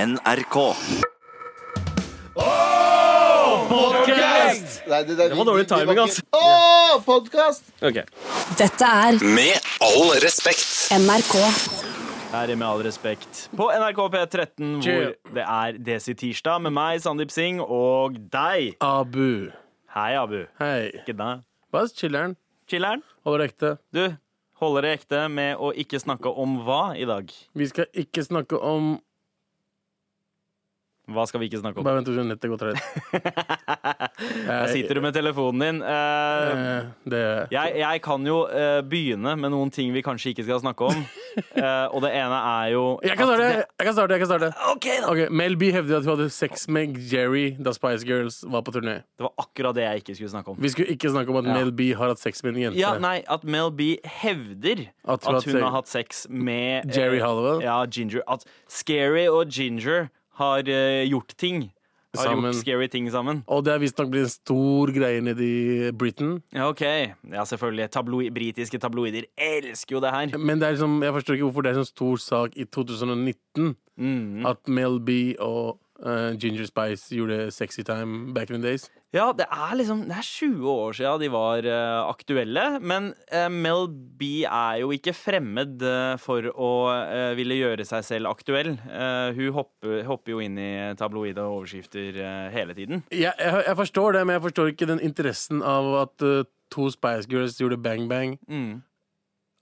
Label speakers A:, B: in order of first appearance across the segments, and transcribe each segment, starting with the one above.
A: NRK.
B: Nei, det, det,
C: var dårlig timing, altså.
B: Åh, podcast!
C: Ok.
D: Dette er
A: Med all respekt.
D: NRK.
C: Her er med all respekt på NRK P13, hvor
E: Chill.
C: det er Desi-tirsdag med meg, Sandeep Singh, og deg.
E: Abu.
C: Hei, Abu.
E: Hei.
C: Ikke deg.
E: Bare chiller'n.
C: Chiller'n.
E: Holder det ekte.
C: Du, holder det ekte med å ikke snakke om hva i dag?
E: Vi skal ikke snakke om
C: Hva skal vi ikke snakke om?
E: Bare vent, nettet går tregt.
C: Der sitter du med telefonen din. Eh,
E: Det
C: jeg, jeg kan jo eh, begynne med noen ting vi kanskje ikke skal snakke om. Eh, og det ene er jo
E: Jeg kan
C: at
E: starte!
C: det-
E: Jeg kan starte, jeg kan starte.
C: OK, da!
E: Ok, Mel B hevder at hun hadde sex med Jerry da Spice Girls var på turné.
C: Det var akkurat det jeg ikke skulle snakke om.
E: Vi skulle ikke snakke om at Mel B har hatt sex med en jente.
C: Ja, nei, At Mel B hevder
E: eh, At
C: at
E: hun
C: hun,
E: har hatt
C: har hatt
E: sex-
C: sex med eh,
E: Jerry Hollowell?
C: Ja, Ginger. At Scary og Ginger har eh, gjort ting. Har
E: Sammen.
C: gjort scary ting sammen.
E: Og det har visstnok blitt en stor greie nede i Britain.
C: Ja, OK. Ja, selvfølgelig. Tabloid, britiske tabloider elsker jo det her.
E: Men det er liksom, jeg forstår ikke hvorfor det er en sånn stor sak i 2019 at Mel B og eh, Ginger Spice gjorde sexy time back in the days.
C: Ja, det er liksom Det er 20 år siden de var eh, aktuelle. Men eh, Mel B er jo ikke fremmed eh, for å eh, ville gjøre seg selv aktuell. Eh, hun hopper, hopper jo inn i tabloide overskrifter eh, hele tiden.
E: Jeg, jeg, jeg forstår det, men jeg forstår ikke den interessen av at eh, to Spice Girls gjorde Bang Bang.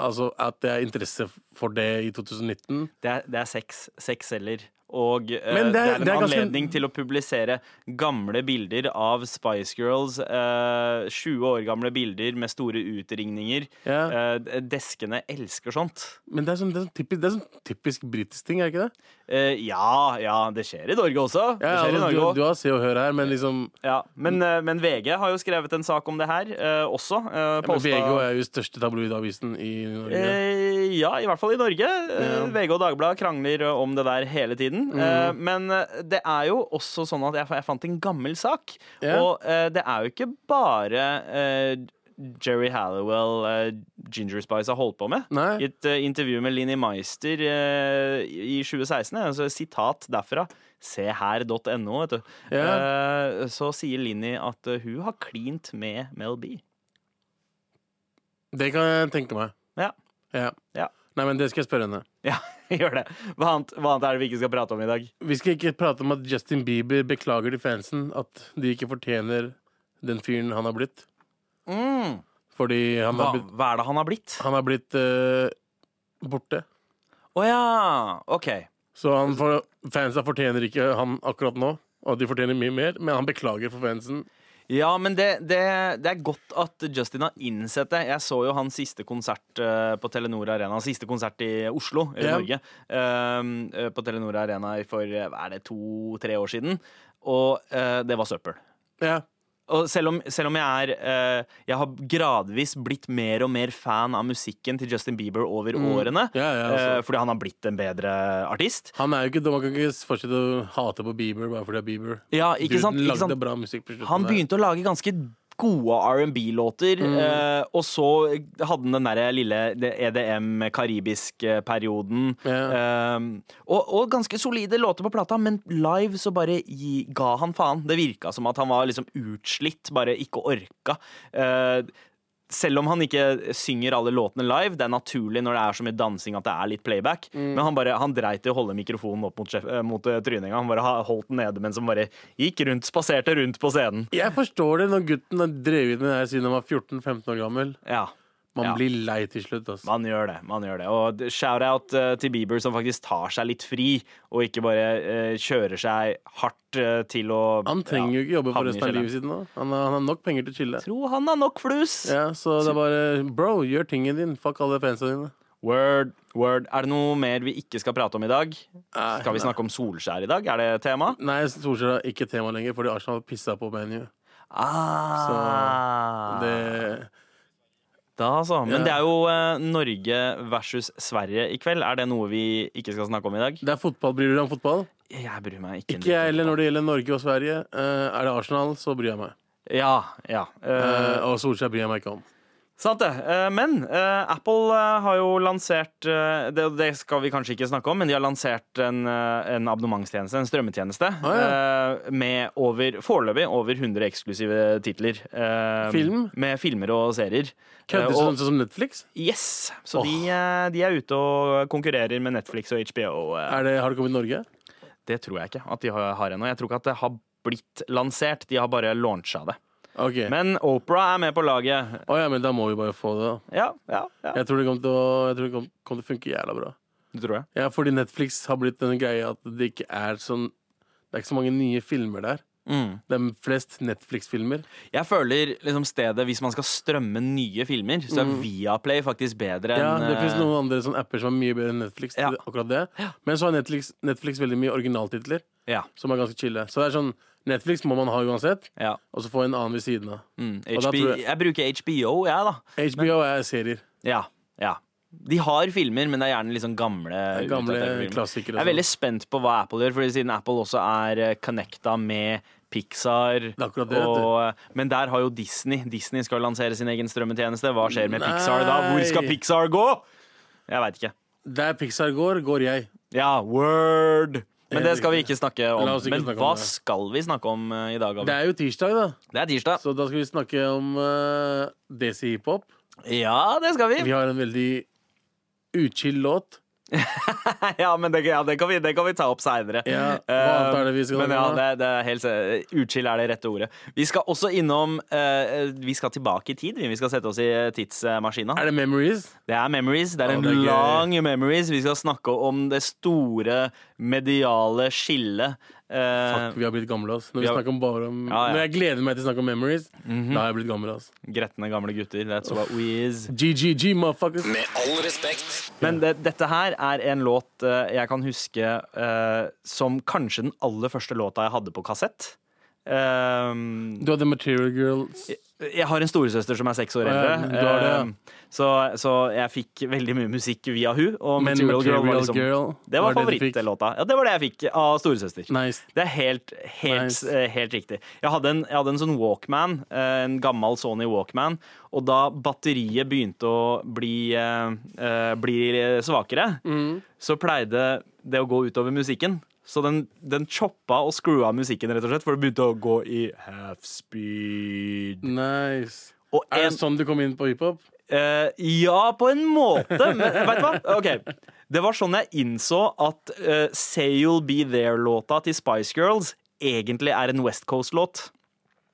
E: Altså at det er interesse for det i 2019.
C: Det er, det er sex. Sex selger. Og eh, det,
E: Men det
C: er
E: er-
C: en
E: det er ganske-
C: anledning til å publisere gamle bilder av Spice Girls. eh, 20 år gamle bilder med store utringninger.
E: Ja.
C: Eh, d- deskene elsker sånt.
E: Men det er sånn, det er sånn typisk, det er sånn typisk britisk ting, er det ikke det?
C: Eh, ja, ja, det skjer i Norge også. Det
E: Ja,
C: skjer i
E: altså,
C: Norge
E: du, du
C: også.
E: har Se og Hør her, men liksom
C: Ja, men, eh, men VG har jo skrevet en sak om det her eh, også. eh,
E: men
C: posta-
E: VG er jo største tabloidavisen i Norge.
C: Eh, ja, i hvert fall i Norge. Eh, VG og Dagbladet krangler eh, om det der hele tiden.
E: Mhm.
C: Eh, men eh, det er jo også sånn at jeg, fa- jeg fant en gammel sak.
E: Ja.
C: Og eh, det er jo ikke bare eh, Jerry Halliwell, eh, Ginger Spice, har holdt på med.
E: Nei.
C: I et eh, intervju med Linni Meister eh, i i 2016, eh, altså sitat derfra, seher.no, vet du, eh, så sier Linni at eh, hun har klint med Mel B.
E: Det kan jeg tenke meg.
C: Ja.
E: Ja.
C: Ja.
E: Nei, men det skal jeg spørre henne.
C: Ja, gjør det. Hva annet, hva annet er det vi ikke skal prate om i dag?
E: Vi skal ikke prate om at Justin Bieber beklager til fansen at de ikke fortjener den fyren han har blitt. Fordi han
C: Mm. Hva,
E: har blitt,
C: hva er det han har blitt? Å
E: han har blitt eh, borte.
C: ja, ok.
E: Så han for, fansa fortjener ikke han akkurat nå, og de fortjener mye mer, men han beklager for fansen.
C: Ja, men det, det, det er godt at Justin har innsett det. Jeg så jo hans siste konsert eh, på Telenor Arena. Hans siste konsert i Oslo, eller
E: Ja.
C: Norge. ehm, eh, på Telenor Arena for eh, hva er det, to-tre år siden. Og eh, det var søppel.
E: Ja.
C: Og selv om, selv om jeg er eh, Jeg har gradvis blitt mer og mer fan av musikken til Justin Bieber over årene.
E: Ja, ja, altså.
C: eh, fordi han har blitt en bedre artist.
E: Han er jo ikke dum, han kan ikke fortsette å hate på Bieber bare fordi det er Bieber.
C: Ja, ikke sant,
E: Duden
C: ikke
E: lagde
C: sant.
E: bra musikk på slutten.
C: Han
E: der.
C: begynte å lage ganske gode R&B-låter, eh, og så hadde han den der lille E EDM-karibisk-perioden.
E: Ja.
C: eh, og, og ganske solide låter på plata, men live så bare gi, ga han faen. Det virka som at han var liksom utslitt, bare ikke orka. Eh, selv om han ikke synger alle låtene live, det er naturlig når det er så mye dansing at det er litt playback, men han, bare, han dreit i å holde mikrofonen opp mot, sjef- eh, mot eh, tryninga. Han bare ha- holdt den nede mens han bare gikk rundt, spaserte rundt på scenen.
E: Jeg forstår det når gutten har drevet med det her siden han var 14-15 år gammel.
C: Ja,
E: Man
C: Ja.
E: blir lei til slutt, altså.
C: man gjør det. man gjør det. Og d- shout-out eh, til Bieber som faktisk tar seg litt fri, og ikke bare eh, kjører seg hardt eh, til å
E: Han trenger jo ikke jobbe for
C: havne i
E: resten av
C: kjelleren.
E: livet sitt nå. Han har, han har nok penger til å chille.
C: Tro han har nok flus!
E: Ja, så det er bare Bro, gjør tingen din. Fuck alle fansa dine.
C: Word, word. Er det noe mer vi ikke skal prate om i dag?
E: Nei,
C: Skal vi snakke om Solskjær i dag? Er det tema?
E: Nei, Solskjær er ikke tema lenger, fordi Arsenal pissa på ManU.
C: Ah.
E: Det
C: Da altså. Men
E: Ja.
C: det er jo eh, Norge versus Sverige i kveld. Er det noe vi ikke skal snakke om i dag?
E: det er fotball. Bryr du deg om fotball?
C: Jeg bryr meg ikke. en
E: Ikke
C: dritt om
E: jeg heller
C: fotball.
E: når det gjelder Norge og Sverige. Eh, er det Arsenal, så bryr jeg meg.
C: Ja, ja. Eh,
E: Eh, og Solskjær bryr jeg meg ikke om.
C: Sant det. Eh, Men eh, Apple eh, har jo lansert eh, det, det skal vi kanskje ikke snakke om, men de har lansert en, eh, en abonnementstjeneste, en strømmetjeneste,
E: Ah,
C: eh, med over, foreløpig over 100 eksklusive titler. eh,
E: Film?
C: Med filmer og serier. Eh,
E: Kødder du
C: og,
E: sånn som Netflix?
C: yes! Så
E: Åh.
C: de, eh, de er ute og konkurrerer med Netflix og HBO. eh.
E: Er det, har det kommet i Norge?
C: Det tror jeg ikke at de har, har ennå. Jeg tror ikke at det har blitt lansert, de har bare launcha det.
E: Ok. Å
C: Men Opera er med på laget.
E: ja, men da må vi bare få det, da.
C: Ja, ja, ja.
E: Jeg tror det kommer til å, jeg tror det kommer, kommer til å funke jævla bra.
C: Det tror jeg.
E: Ja, fordi Netflix har blitt den greia at det ikke er sånn Det er ikke så mange nye filmer der.
C: Mm.
E: Det er flest Netflix-filmer.
C: Jeg føler liksom stedet Hvis man skal strømme nye filmer, så er Viaplay faktisk bedre
E: Mm. Ja,
C: enn
E: det fins
C: eh,
E: noen andre sånne apper som er mye bedre enn Netflix. til
C: Ja.
E: akkurat det Men så har Netflix, Netflix veldig mye originaltitler
C: ja,
E: som er ganske chille. Så det er sånn Netflix må man ha uansett,
C: ja.
E: og så få en annen ved siden av.
C: Mm.
E: Og da
C: HB,
E: tror jeg-
C: jeg bruker HBO, jeg, da.
E: HBO er serier.
C: Ja, ja. De har filmer, men det er gjerne liksom gamle,
E: Det er gamle
C: utdaterte filmer.
E: klassikere.
C: Jeg er
E: og
C: veldig
E: sånn.
C: spent på hva Apple gjør, Fordi siden Apple også er eh, connecta med Pixar.
E: er akkurat det, vet
C: og, eh, men der har jo Disney Disney skal jo lansere sin egen strømmetjeneste. Hva skjer med Pixar da? Hvor skal
E: Nei.
C: Pixar gå? Jeg veit ikke.
E: Der Pixar går, går jeg.
C: Ja, word! Men
E: Helt
C: det skal vi
E: riktig.
C: ikke snakke om.
E: La oss ikke
C: Men
E: snakke om
C: hva
E: det.
C: skal vi snakke om eh, i dag?
E: Det
C: Gabriel?
E: er jo tirsdag, da.
C: Det er tirsdag.
E: Så da skal vi snakke om uh, Desi hiphop.
C: Ja, det skal vi.
E: Vi har en veldig uchill låt.
C: Ja, men det, ja, det, kan, vi, det kan vi ta opp seinere. Eh,
E: Ja, hva annet er det vi skal
C: men ja,
E: snakke om
C: det,
E: da?
C: det er helt, eh, Utskill er det rette ordet. Vi skal også innom eh, Vi skal tilbake i tid. vi. Vi skal sette oss i eh, tidsmaskina.
E: Er det Memories?
C: Det er memories. Det er
E: Å,
C: en
E: det er gøy.
C: lang memories. Vi skal snakke om det store mediale skillet. Eh,
E: Fuck, vi har blitt gamle, ass. Når vi
C: vi har-
E: snakker om bare om
C: Ja, Mhm. ja.
E: Når jeg gleder meg til å snakke om Memories, da har jeg blitt gammel, ass.
C: gretne gamle gutter. That's what we is.
E: GGG, motherfuckers.
A: Med all respekt.
C: Men det, dette her er en låt eh, jeg kan huske eh, som kanskje den aller første låta jeg hadde på kassett. Ehm,
E: Du hadde Material Girls.
C: jeg har en storesøster som er seks år
E: Å, ja,
C: eldre,
E: du har det, ja.
C: ehm, så, så jeg fikk veldig mye musikk via hun Og
E: Men
C: Material, Girl var
E: Material
C: liksom
E: Girl
C: Det var,
E: var det du fikk?
C: favorittlåta. Ja, det var det jeg fikk av storesøster.
E: Nice.
C: Det er helt, helt,
E: Nice.
C: eh, helt riktig. Jeg hadde, en, jeg hadde en sånn Walkman, eh, en gammel Sony Walkman, og da batteriet begynte å bli, eh, eh, bli svakere,
E: Mm.
C: så pleide det å gå utover musikken. Så den, den choppa og skrua musikken, rett og slett, for det begynte å gå i half speed.
E: Nice.
C: Og
E: Er
C: en-
E: det sånn du kom inn på hiphop?
C: Eh, ja, på en måte, men vet du hva? Ok, Det var sånn jeg innså at eh, Say You'll Be There-låta til Spice Girls egentlig er en West Coast-låt.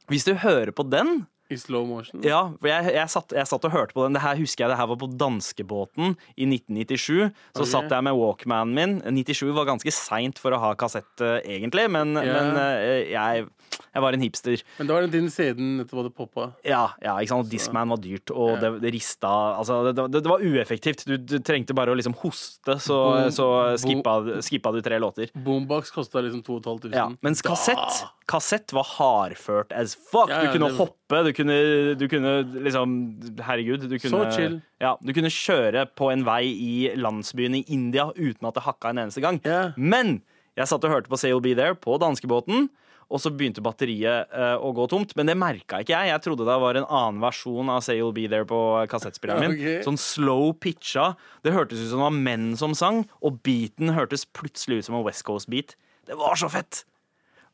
C: Hvis du hører på den
E: I slow motion?
C: Ja, for jeg, jeg, satt, jeg satt og hørte på den. Det her husker jeg det her var på danskebåten i 1997. Så
E: Ok.
C: satt jeg med Walkmanen min. 97 var ganske seint for å ha kassett, eh, egentlig, men,
E: Ja.
C: men eh, jeg, jeg var en hipster.
E: Men det var den tiden siden nettopp hadde poppa.
C: Ja, ja ikke sant? og Discman var dyrt, og det, det rista altså, det, det, det var ueffektivt. Du, du trengte bare å liksom hoste, så,
E: Boom.
C: så skippa, skippa du tre låter.
E: Boombox kosta liksom 2500.
C: Ja, mens kassett, kassett var hardført as fuck.
E: Ja,
C: Du
E: ja,
C: kunne
E: det-
C: hoppe, du kunne, du kunne liksom Herregud. Du kunne,
E: chill.
C: Ja, du kunne kjøre på en vei i landsbyen i India uten at det hakka en eneste gang.
E: Ja.
C: Men jeg satt og hørte på Say You'll Be There på danskebåten. Og så begynte batteriet eh, å gå tomt, men det merka ikke jeg. Jeg trodde det var en annen versjon av Say You'll Be There på kassettspilleren min.
E: Ok.
C: Sånn slow pitcha. Det hørtes ut som det var menn som sang, og beaten hørtes plutselig ut som en West Coast-beat. Det var så fett!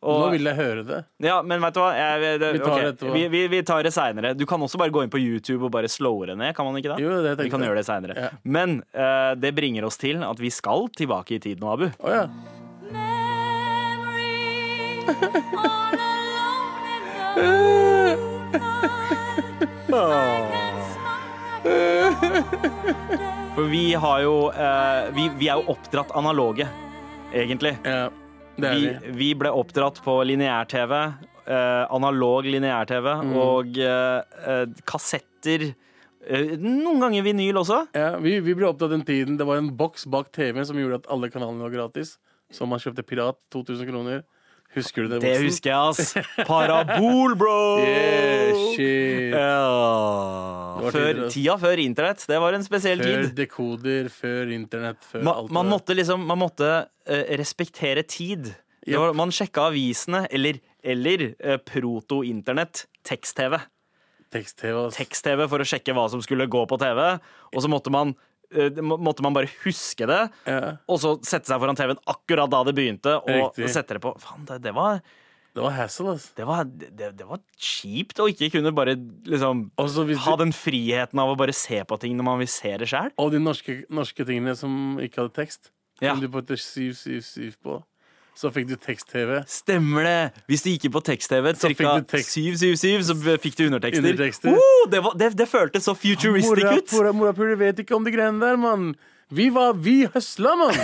E: Nå
C: Og,
E: vil jeg høre det.
C: ja, men vet du hva? Jeg, det,
E: Vi tar
C: ok,
E: det etterpå.
C: vi, vi, vi tar det seinere. Du kan også bare gå inn på YouTube og bare slowe det ned. Kan man ikke da?
E: Jo, det tenkte
C: vi kan
E: jeg.
C: gjøre det seinere.
E: Ja.
C: Men eh, det bringer oss til at vi skal tilbake i tid nå, Abu.
E: Å ja.
C: Eh. For vi har jo eh, vi, vi er jo oppdratt analoge, egentlig.
E: ja. Det er
C: Vi,
E: vi.
C: vi ble oppdratt på lineær-TV, eh, analog lineær-TV,
E: Mm.
C: og eh, eh, kassetter. eh, noen ganger vinyl også.
E: Ja, vi, vi ble opptatt den tiden. Det var en boks bak TV-en som gjorde at alle kanalene var gratis. Så man kjøpte pirat 2000 kroner. Husker du det?
C: Det
E: boksen?
C: husker jeg, ass. Parabol, bro!
E: Yeah, shit.
C: Ja.
E: Det var
C: Før,
E: tider, ass.
C: tida før internett. Det var en spesiell
E: Før
C: tid.
E: dekoder, før internett, før
C: Ma,
E: alt
C: man
E: det der.
C: måtte liksom Man måtte eh, respektere tid. Det var, man sjekka avisene, eller, eller eh, proto-internett, tekst-TV.
E: Tekst-TV. ass.
C: tekst-TV for å sjekke hva som skulle gå på TV. Og så måtte man, eh, må- måtte man bare huske det,
E: Ja.
C: og så sette seg foran TV-en akkurat da det begynte, og
E: Riktig.
C: sette det på. Faen, det, det, var,
E: Det var hassle, ass.
C: det, var, det, det var kjipt å ikke kunne bare liksom
E: Og så Altså, hvis
C: ha
E: du,
C: den friheten av å bare se på ting når man vil se det sjøl.
E: og de norske, norske tingene som ikke hadde tekst,
C: Ja.
E: kom du på etter 777 på. Så fikk du tekst-TV.
C: Stemmer det! Hvis du gikk inn på tekst-TV,
E: fikk
C: trykka
E: du tekst.
C: 777, så b- fikk du undertekster.
E: Undertekster.
C: Woo! det, var, det, det føltes så futuristic
E: Mora-
C: ut!
E: mora- Morapuler vet ikke om de greiene der, mann. Vi var Vi høsla, mann!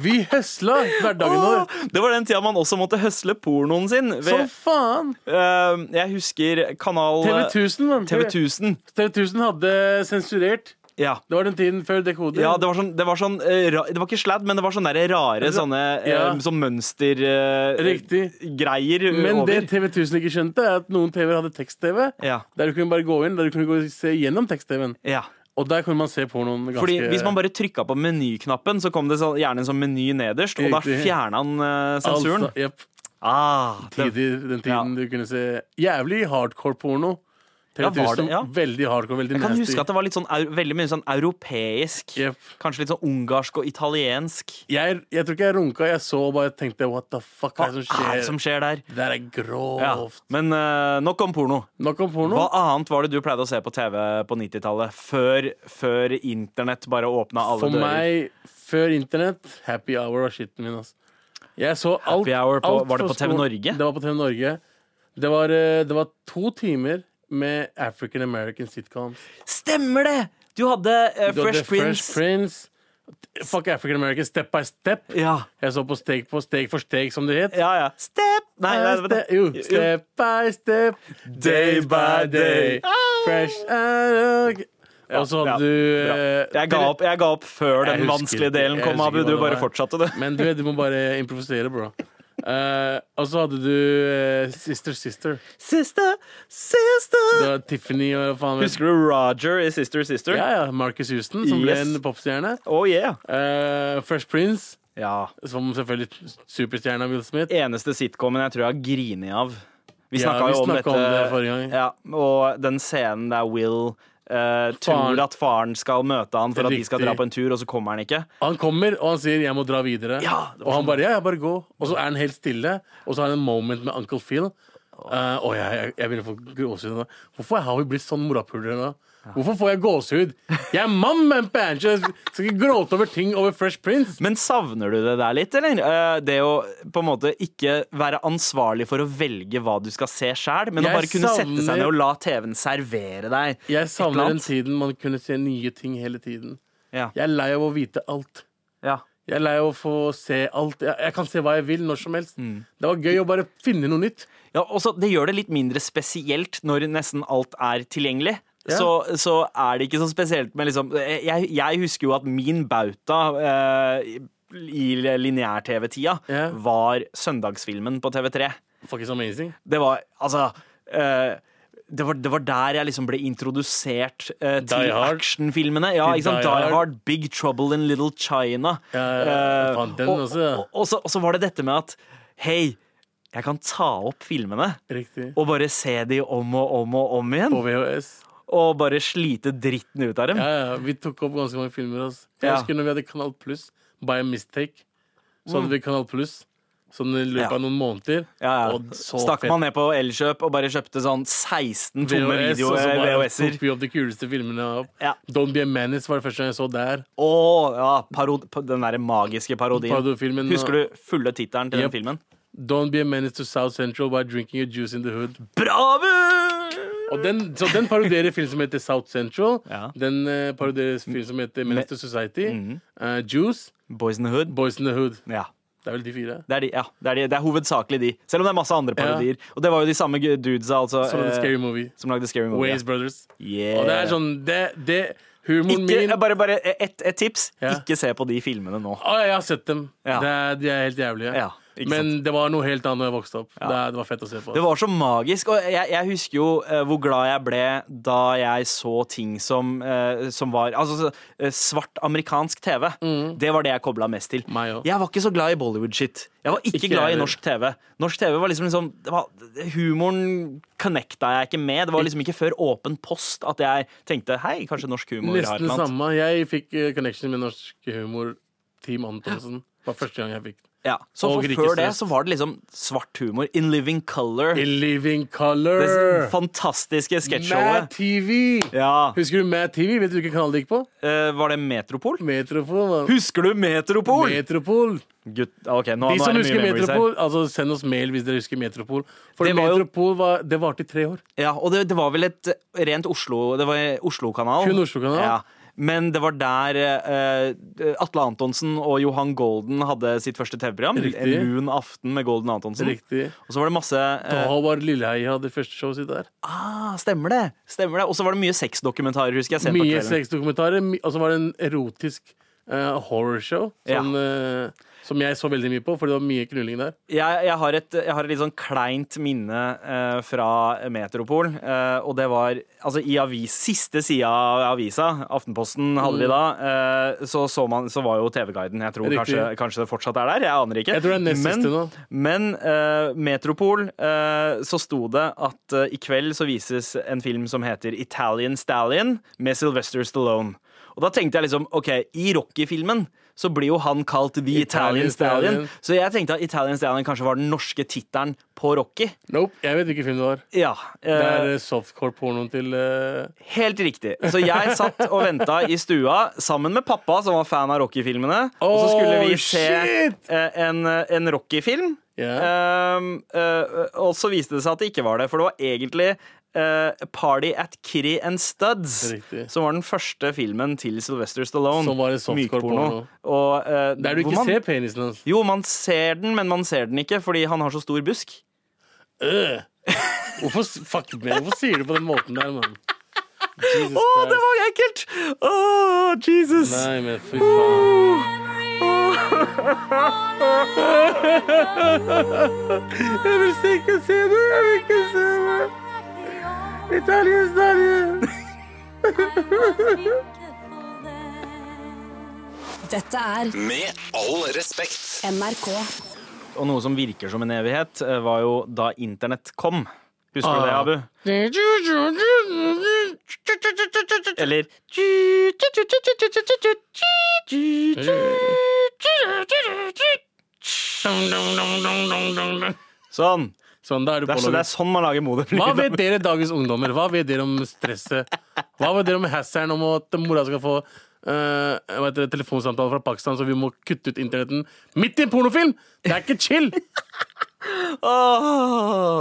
E: Vi høsla hverdagen
C: Åh,
E: vår.
C: Det var den tida man også måtte høsle pornoen sin. Ved,
E: Som faen!
C: Eh, jeg husker kanal eh,
E: TV 1000, mann.
C: TV 1000.
E: TV 1000 hadde sensurert.
C: Ja.
E: Det var den tiden før dekoder.
C: Ja, det var sånn, det var, sånn eh, ra, det var ikke sladd, men det var sånne der rare sånne
E: Ja.
C: eh, sånn eh, mønstergreier
E: Riktig. Men det TV 1000 ikke skjønte, er at noen TV-er hadde tekst-TV.
C: Ja.
E: Der du kunne bare gå inn Der du kunne gå og se gjennom tekst-TV-en.
C: Ja.
E: Og der kunne man se pornoen ganske
C: Fordi Hvis man bare trykka på menyknappen, så kom det så, gjerne en sånn meny nederst, og da
E: Riktig.
C: fjerna han eh, sensuren.
E: Altså, jep.
C: Ah, det,
E: Tider, den tiden du kunne se jævlig hardcore porno.
C: Ja, var det-
E: 3000,
C: ja.
E: Veldig hardcore, veldig
C: jeg kan
E: nasty.
C: huske at det var litt sånn, au- veldig mye sånn europeisk.
E: Jep.
C: Kanskje litt sånn ungarsk og italiensk.
E: jeg, jeg tror ikke jeg runka. Jeg så og bare tenkte what the fuck
C: Hva
E: er det som
C: er
E: skjer?
C: det som skjer der?
E: Det der er
C: Ja.
E: grovt.
C: Men eh, nok om porno.
E: Nok om porno.
C: Hva annet var det du pleide å se på TV på 90-tallet? Før, før internett bare åpna alle
E: For
C: dører?
E: meg, før internett, happy hour var skitten min. ass. Jeg så alt,
C: Happy hour på-
E: alt
C: var det
E: fra
C: på TV
E: skolen.
C: Norge?
E: Det var på TV Norge. Det var, eh, det var to timer med African American sitcoms.
C: Stemmer det! Du hadde eh,
E: Du hadde
C: Fresh Prince.
E: Fresh Prince. Fuck African American, Step by Step.
C: Ja.
E: Jeg så på Steg på Steg for steg, som det het.
C: ja, ja. Step Nei, nei,
E: Nei,
C: vet du.
E: ste jo, step by step, day by day, fresh and
C: Ja,
E: Og så
C: bra,
E: hadde du
C: bra.
E: eh,
C: jeg, ga opp, jeg ga opp før
E: Jeg
C: den
E: husker
C: vanskelige
E: ikke-
C: delen
E: jeg
C: kom,
E: husker
C: Abu.
E: ikke hva
C: Du
E: det
C: bare
E: var.
C: fortsatte, du.
E: Men du, vet, du må bare improvisere, bro. Eh, og så hadde du eh, Sister Sister.
C: Sister,
E: Det
C: sister
E: var Tiffany og faen vet-
C: Husker du Roger i Sister, sister?
E: Ja, ja, Marcus Houston, som ble
C: Yes.
E: en popstjerne.
C: Oh yeah.
E: Eh, Fresh Prince,
C: Ja.
E: som selvfølgelig superstjerna Will Smith.
C: eneste sitcomen jeg tror jeg har grinet av. Vi
E: Ja,
C: snakka
E: vi
C: jo om
E: snakket
C: dette
E: om det forrige gang.
C: Ja, og den scenen der Will eh,
E: Faren-
C: tror at faren skal møte han for at de skal
E: Riktig.
C: dra på en tur, og så kommer han ikke.
E: Han kommer og han sier 'jeg må dra videre'.
C: Ja, det var
E: og han
C: sånn.
E: bare 'ja, jeg bare gå'. Og så er han helt stille, og så har han en moment med Uncle Phil. Eh, og jeg, jeg, jeg begynner å få gåsehud nå. Hvorfor har vi blitt sånn morapulere nå? Hvorfor får jeg gåsehud? Jeg er mann med en pants! Jeg skal ikke gråte over ting over Fresh Prince.
C: Men savner du det der litt, eller? Eh, det å på en måte ikke være ansvarlig for å velge hva du skal se sjæl, men
E: Jeg
C: å bare kunne sette
E: savner-
C: seg ned og la TV-en servere deg.
E: Jeg
C: eller
E: savner den
C: annet.
E: tiden man kunne se nye ting hele tiden.
C: Ja.
E: Jeg er lei av å vite alt.
C: Ja.
E: Jeg er lei av å få se alt. Jeg, jeg kan se hva jeg vil når som helst.
C: Mm.
E: Det var gøy å bare finne noe nytt.
C: Ja, også, det gjør det litt mindre spesielt når nesten alt er tilgjengelig.
E: Ja.
C: Så, så er det ikke så spesielt med liksom Jeg, jeg husker jo at min bauta eh, i lineær-TV-tida
E: Ja.
C: var søndagsfilmen på TV3.
E: Fuck, it's amazing.
C: Det var altså eh, det var, det var der jeg liksom ble introdusert eh, til
E: Hard.
C: actionfilmene. Ja,
E: Til
C: ikke sant?
E: Die
C: Die
E: Hard.
C: Hard, Big Trouble in Little China.
E: Ja, ja, ja.
C: Eh,
E: Faen, den
C: og,
E: også, ja.
C: og, og, så, og så var det dette med at Hei, jeg kan ta opp filmene
E: Riktig.
C: og bare se de om og om og om igjen.
E: På VHS.
C: Og bare slite dritten ut av dem.
E: Ja, ja, vi tok opp ganske mange filmer. ass. Jeg
C: Ja.
E: husker når vi hadde Kanal Pluss, by a mistake, så hadde vi Kanal Pluss sånn i løpet
C: Mm. Ja.
E: av noen måneder.
C: Ja, ja.
E: Og så
C: Stakk
E: fett.
C: man ned på Elkjøp og bare kjøpte sånn 16 tomme
E: VHS, og så bare
C: VHS-er.
E: tok vi opp de kuleste filmene. Opp.
C: Ja.
E: Don't Be a Menace var det første gang jeg så der.
C: Å, ja, parod pa- den derre magiske parodien.
E: Parodifilmen,
C: Husker du fulle tittelen til
E: Jep.
C: den filmen?
E: Don't Be a Menace to South Central by drinking a juice in the hood.
C: Bravo!
E: Og den, så den parodierer film som heter South Central.
C: Ja. Mhm.
E: Den eh, parodierer film som heter Menace to Society. eh, juice,
C: Boys in the Hood.
E: Boys in the Hood.
C: Ja.
E: Det er vel de fire.
C: Det er, de, ja, det, er de, det er hovedsakelig de. Selv om det er masse andre parodier. Og det var jo de samme gu- dudesa altså,
E: Som
C: eh,
E: heter Scary Movie.
C: som lagde Scary Movie. ja.
E: Ways Brothers.
C: Yeah.
E: Og det er sånn Det, det humoren
C: ikke,
E: min
C: Bare, bare et, et tips.
E: Ja.
C: Ikke se på de filmene nå.
E: Å, jeg har sett dem.
C: Ja.
E: Det er, de er helt jævlige.
C: Ja. Ikke
E: Men det var noe helt annet da jeg vokste opp. Det, det var fett å se på.
C: Det var så magisk, og jeg, jeg husker jo eh, hvor glad jeg ble da jeg så ting som, eh, som var Altså så, eh, svart amerikansk TV. Det var det jeg kobla mest til.
E: Mm. Meg også.
C: Jeg var ikke så glad i Bollywood-shit. Jeg var ikke,
E: Ikke
C: glad
E: heller.
C: i norsk TV. Norsk TV var liksom, liksom det var, Humoren connecta jeg ikke med. Det var liksom ikke før Åpen post at jeg tenkte hei, kanskje norsk humor har et
E: Nesten det
C: eller annet.
E: samme. Jeg fikk eh, connection med norsk humor. Team Antonsen. Det var første gang jeg fikk
C: Ja. Så
E: Og
C: for
E: Rikes
C: før det
E: Røst.
C: så var det liksom svart humor. In living color.
E: In Living
C: det
E: Color!
C: fantastiske
E: Mad
C: sketsjshowet.
E: TV!
C: Ja.
E: Husker du Mad TV? Vet du hvilken kanal det gikk på?
C: Eh, var det Metropol?
E: Metropol. mann.
C: Husker du Metropol?
E: Metropol.
C: Gutt, ok, nå, nå
E: De som
C: er det
E: husker
C: mye memories
E: Metropol, altså send oss mail hvis dere husker Metropol. For
C: Det var jo-
E: Metropol var, det varte i tre år.
C: her. Ja, og det, det var vel et eh, rent Oslo Det var Oslo-kanal.
E: Kun Oslo-kanal.
C: Ja. Men det var der eh, Atle Antonsen og Johan Golden hadde sitt første TV-program. En
E: Riktig.
C: lun aften med Golden Antonsen.
E: Riktig.
C: Og så var det masse eh,
E: Da var Lilleheia det første showet sitt der.
C: ah, Stemmer det! stemmer det Og så var det mye sexdokumentarer, husker jeg. sent på
E: Mye
C: kvelden.
E: sexdokumentarer. my- Og så var det en erotisk eh, horrorshow sånn, eh, som jeg så veldig mye på, for det var mye knulling der.
C: jeg, jeg, har et, jeg har et litt sånn kleint minne eh, fra Metropol. eh, og det var altså i avis, siste sida av avisa, Aftenposten hadde de da, eh, så, så, man, så var jo TV-guiden. Jeg tror
E: Mm. Riktig.
C: kanskje, kanskje det fortsatt er der. Jeg aner ikke.
E: Jeg tror det er nest
C: men,
E: siste nå.
C: Men eh, Metropol, eh, så sto det at eh, i kveld så vises en film som heter Italian Stallion med Sylvester Stallone. Og da tenkte jeg liksom, ok, i Rocky-filmen så blir jo han kalt The Italian,
E: Italian
C: Stallion.
E: Stallion.
C: Så jeg tenkte at Italian Stallion kanskje var den norske tittelen på Rocky.
E: Nope, jeg vet hvilken film det var.
C: Ja, eh,
E: Det er eh, softcore-pornoen til eh,
C: Helt riktig. Så jeg satt og venta i stua sammen med pappa, som var fan av Rocky-filmene. og så skulle vi
E: Oh,
C: se
E: shit!
C: eh, en, en Rocky-film.
E: Ja.
C: Um, eh, og så viste det seg at det ikke var det, for det var egentlig eh, Party at Kitty and Studs,
E: Riktig.
C: som var den første filmen til Sylvester Stallone.
E: Som var en softcore porno.
C: Og, eh,
E: Der du
C: hvor man,
E: ikke ser penisen hans.
C: Jo, man ser den, men man ser den ikke fordi han har så stor busk.
E: Øh. Hvorfor, s- fuck, man, hvorfor sier du på den måten der, mann? Jesus
C: Å, det
E: Christ.
C: var ekkelt! Å, Jesus!
E: Nei, men fy faen. Jeg vil ikke se det! Jeg vil ikke se det! Italia, Italia!
D: Dette er
A: Med all respekt.
D: NRK.
C: Og noe som virker som en evighet, eh, var jo da internett kom. Husker du det,
E: Ah.
C: Abu? Eller Sånn.
E: Sånn, da er du
C: Det er, så, det er
E: pålogget.
C: sånn man lager modem.
E: Hva vet dere dagens ungdommer? Hva vet dere om stresset? Hva vet dere om hasseren om at mora skal få eh, hva heter det, telefonsamtale fra Pakistan, så vi må kutte ut internetten midt i en pornofilm? Det er ikke chill!
C: Åh,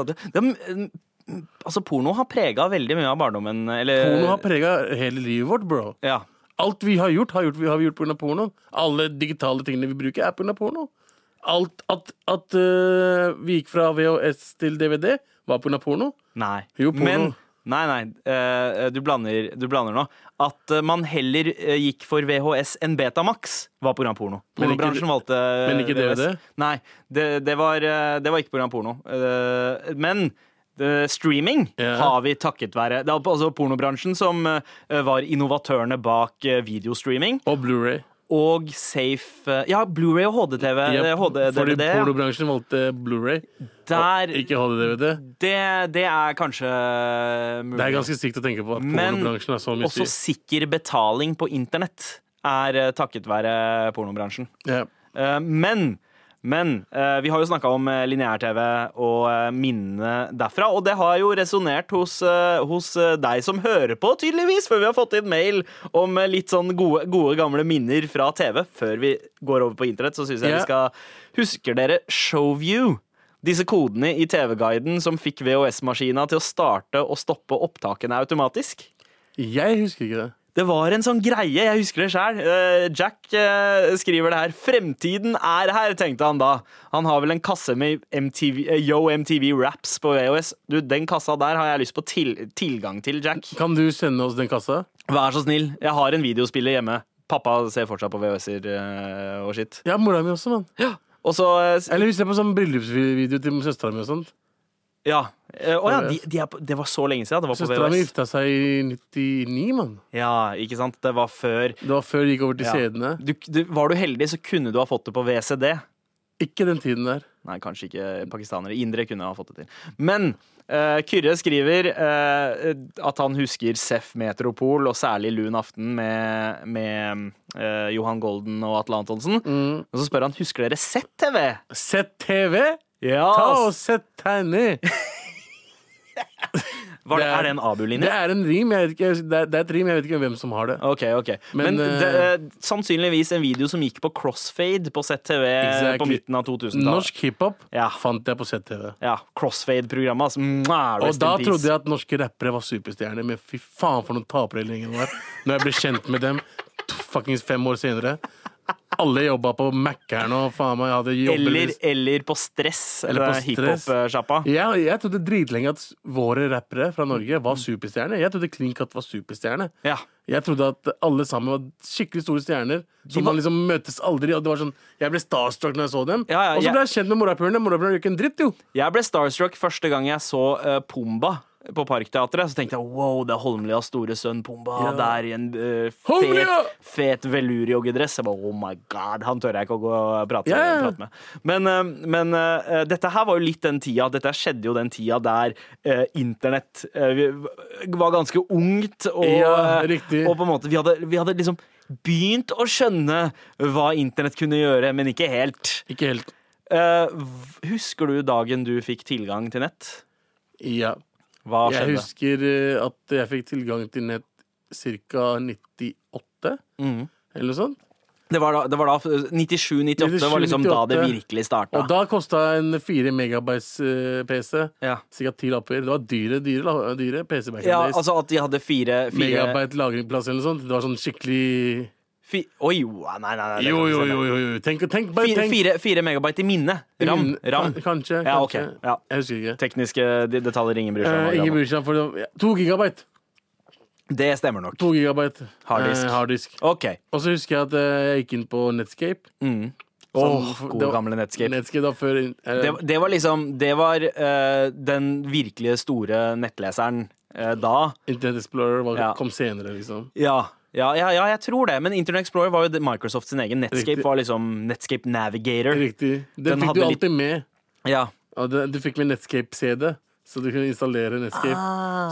C: det, det, mm, altså, porno har prega veldig mye av barndommen. Eller,
E: Porno har prega hele livet vårt, bro.
C: ja.
E: Alt vi har gjort, har, gjort, vi har vi gjort pga. pornoen. Alle digitale tingene vi bruker, er pga. porno. Alt at, at eh, vi gikk fra VHS til DVD, var pga. porno.
C: Nei.
E: Jo, porno.
C: Men Nei, nei, eh, du, blander, du blander nå. At eh, man heller eh, gikk for VHS enn Betamax, var pga. porno.
E: Men ikke-
C: Pornobransjen valgte eh,
E: men ikke
C: VHS.
E: DVD?
C: Nei, det, det, var, eh, det var ikke pga. porno. Eh, Men eh, streaming
E: Ja.
C: har vi takket være Det er altså pornobransjen som eh, var innovatørene bak eh, videostreaming.
E: Og Blu-ray.
C: Og safe eh, Ja, Blu-ray og HDTV. eh, HD,
E: fordi
C: DVD.
E: pornobransjen valgte Blu-ray,
C: Der,
E: ikke HD-DVD.
C: det, det er kanskje eh, mulig.
E: Det er ganske sykt å tenke på at
C: Men
E: pornobransjen er så mye
C: Også
E: syk.
C: sikker betaling på internett er eh, takket være pornobransjen.
E: Ja.
C: Eh, Men men eh, vi har jo snakka om eh, lineær-TV og eh, minnene derfra. Og det har jo resonnert hos, eh, hos eh, deg som hører på, tydeligvis. For vi har fått inn mail om eh, litt sånn gode, gode gamle minner fra TV. Før vi går over på internett, så syns jeg
E: Ja.
C: vi skal Husker dere Showview? Disse kodene i TV-guiden som fikk VHS-maskina til å starte og stoppe opptakene automatisk.
E: Jeg husker ikke det.
C: Det var en sånn greie, jeg husker det sjøl. Jack eh, skriver det her. 'Fremtiden er her', tenkte han da. Han har vel en kasse med MTV, eh, Yo MTV Raps på VHS. Du, Den kassa der har jeg lyst på til, tilgang til, Jack.
E: Kan du sende oss den kassa?
C: Vær så snill. Jeg har en videospiller hjemme. Pappa ser fortsatt på VHS-er eh, og skitt.
E: Ja, mora mi også, mann.
C: Og så eh,
E: Eller vi ser på sånn bryllupsvideo til søstera mi og sånt.
C: Ja. Eh, Å ja, de, de er på, det var så lenge siden. Det var på
E: Søstera mi
C: VHS.
E: gifta seg i 99, mann.
C: Ja, ikke sant? Det var før.
E: Det var før det gikk over til
C: Ja.
E: sedene.
C: Du, du, var du heldig, så kunne du ha fått det på VCD.
E: Ikke den tiden der.
C: Nei, kanskje ikke pakistanere. Indere kunne ha fått det til. Men eh, Kyrre skriver eh, at han husker Seff Metropol, og særlig Lun aften med, med eh, Johan Golden og Atle Antonsen.
E: Mm.
C: Og så spør han husker dere ZTV.
E: Sett TV!
C: Ja,
E: Ta og
C: ass.
E: sett tegner!
C: Var det,
E: det er-
C: er det en
E: Det
C: ABU-linje? Eh,
E: er en rim, jeg vet ikke, det er, det er et rim, jeg vet ikke hvem som har det.
C: Ok, ok. Men,
E: Men,
C: det, eh, sannsynligvis en video som gikk på crossfade på ZTV på
E: Exactly.
C: midten av 2000-tallet.
E: Norsk hiphop
C: Ja.
E: fant jeg på ZTV.
C: Ja, crossfade-programmet. Altså. Mwah,
E: Og
C: rest
E: da
C: in peace.
E: trodde jeg at norske rappere var superstjerner, men fy faen for noen tapere hele gjengen var. Når jeg ble kjent med dem t- fuckings fem år senere. Alle jobba på Mækkern og faen meg jeg hadde jobber
C: eller, eller på stress. eh,
E: Eller på
C: Eller
E: stress.
C: hiphop-sjappa.
E: ja, Jeg trodde dritlenge at s- våre rappere fra Norge var superstjerner. Jeg trodde Clean Cut var superstjerne.
C: Ja.
E: Jeg trodde at alle sammen var skikkelig store stjerner. Som
C: var-
E: man liksom møtes aldri. Og det var sånn, Jeg ble starstruck når jeg så dem.
C: Ja, ja,
E: og så
C: jeg-
E: ble jeg kjent med morapulerne. Morapulerne gjør ikke en dritt, jo.
C: Jeg ble starstruck første gang jeg så eh, Pumba på Parkteatret. Så tenkte jeg wow, det er Holmlias store sønn Pumba
E: Ja.
C: der i en eh,
E: Holmlia!
C: fet, fet velurio-dress. Jeg bare oh my god, han tør jeg ikke å gå og prate,
E: Ja, ja.
C: prate med. Men, eh, men eh, dette her var jo litt den tida. Dette skjedde jo den tida der eh, internett eh, vi- var ganske ungt, og, eh,
E: Ja, riktig.
C: og på en måte Vi hadde, vi hadde liksom begynt å skjønne hva internett kunne gjøre, men ikke helt.
E: Ikke helt.
C: Eh, v- husker du dagen du fikk tilgang til nett?
E: Ja.
C: Hva
E: Jeg
C: skjedde?
E: husker eh, at jeg fikk tilgang til nett ca. 98,
C: Mhm.
E: eller noe sånt.
C: Det var da, det var da 97-98 var liksom da det
E: 97-98.
C: virkelig starta.
E: Og da kosta en 4 megabytes eh, PC
C: ja.
E: ca. 10 lapper. Det var dyre, dyre, la- dyre PC back in
C: ja,
E: days.
C: altså at de hadde fire, fire,
E: Megabyte lagringsplass eller noe sånt. Det var sånn skikkelig
C: fi, Oi, nei, nei, nei. det
E: Jo,
C: kan ikke
E: jo,
C: stemme.
E: jo. jo, jo. Tenk, tenk, bare
C: Fire,
E: tenk.
C: fire, fire megabyte i minne. Ram.
E: Min-
C: ram.
E: kan- Kanskje.
C: Ja,
E: kanskje.
C: ok, ja.
E: Jeg husker ikke.
C: Tekniske de- detaljer ingen bryr seg om.
E: Eh, ingen
C: Gammel.
E: bryr seg, for det var- ja, to gigabyte.
C: Det stemmer nok.
E: To gigabyte
C: Harddisk.
E: Eh, harddisk.
C: OK.
E: Og så husker jeg at eh, jeg gikk inn på Netscape.
C: Mm.
E: Sånn,
C: Åh,
E: det
C: gode,
E: var-
C: gamle Netscape.
E: Netscape da før eh,
C: Det, det var liksom Det var eh, den virkelig store nettleseren eh, da.
E: Internet Explorer var,
C: Ja.
E: kom senere, liksom.
C: Ja, ja, ja, ja, jeg tror det. Men Internet Explorer var jo det- Microsoft sin egen. Netscape
E: Riktig.
C: var liksom Netscape Navigator.
E: Riktig. Den,
C: Den
E: fikk du
C: hadde litt-
E: alltid med.
C: Ja.
E: Ja, den- Du fikk med Netscape-CD, så du kunne installere Netscape.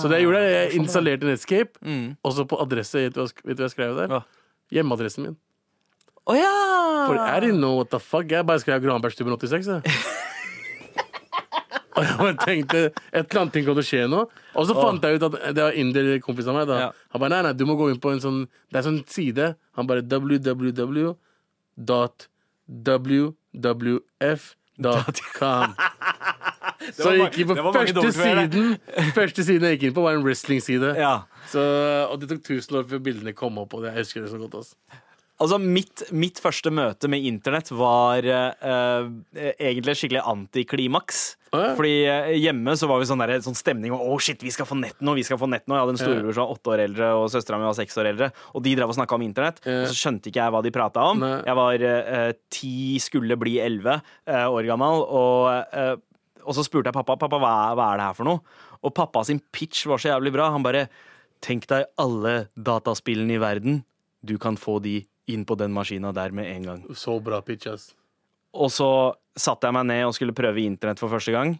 E: Så det jeg gjorde, jeg installerte Netscape, og så på adresse Vet du hva sk- vet du hva jeg skrev der?
C: Mm. Hva?
E: Hjemmeadressen min.
C: Å ja!
E: For I didn't know what the fuck. Jeg bare skrev Granbergstuben 86. Jeg. Og jeg bare tenkte et eller annet ting kommer til å skje nå. Og så fant jeg ut at det var indier-kompis av meg. da
C: Ja.
E: Han bare nei, nei, du må gå inn på en sånn Det er en sånn side. Han bare www.wwf.com. Så jeg gikk inn
C: det
E: på
C: var mange
E: første
C: W-er
E: siden Første siden jeg gikk inn på, var en wrestling-side.
C: Ja.
E: Så, og det tok tusen år før bildene kom opp. Og det, jeg husker det så godt ass.
C: Altså, mitt, mitt første møte med internett var eh, eh, egentlig skikkelig antiklimaks.
E: Å ja.
C: Fordi eh, hjemme så var vi sånn, der, sånn stemning og 'Å, shit, vi skal få nett nå!' vi skal få nett nå. Jeg hadde en storebror som var åtte år eldre, og søstera mi var seks år eldre. Og de drev og snakka om internett,
E: Ja.
C: og så skjønte ikke jeg hva de prata om.
E: Nei.
C: Jeg var eh, ti, skulle bli elleve eh, år gammel, og, eh, og så spurte jeg pappa Pappa, hva er, hva er det her for noe. Og pappa sin pitch var så jævlig bra. Han bare Tenk deg alle dataspillene i verden. Du kan få de inn på den maskina der med en gang.
E: Så bra pitch, ass.
C: Og så satte jeg meg ned og skulle prøve internett for første gang.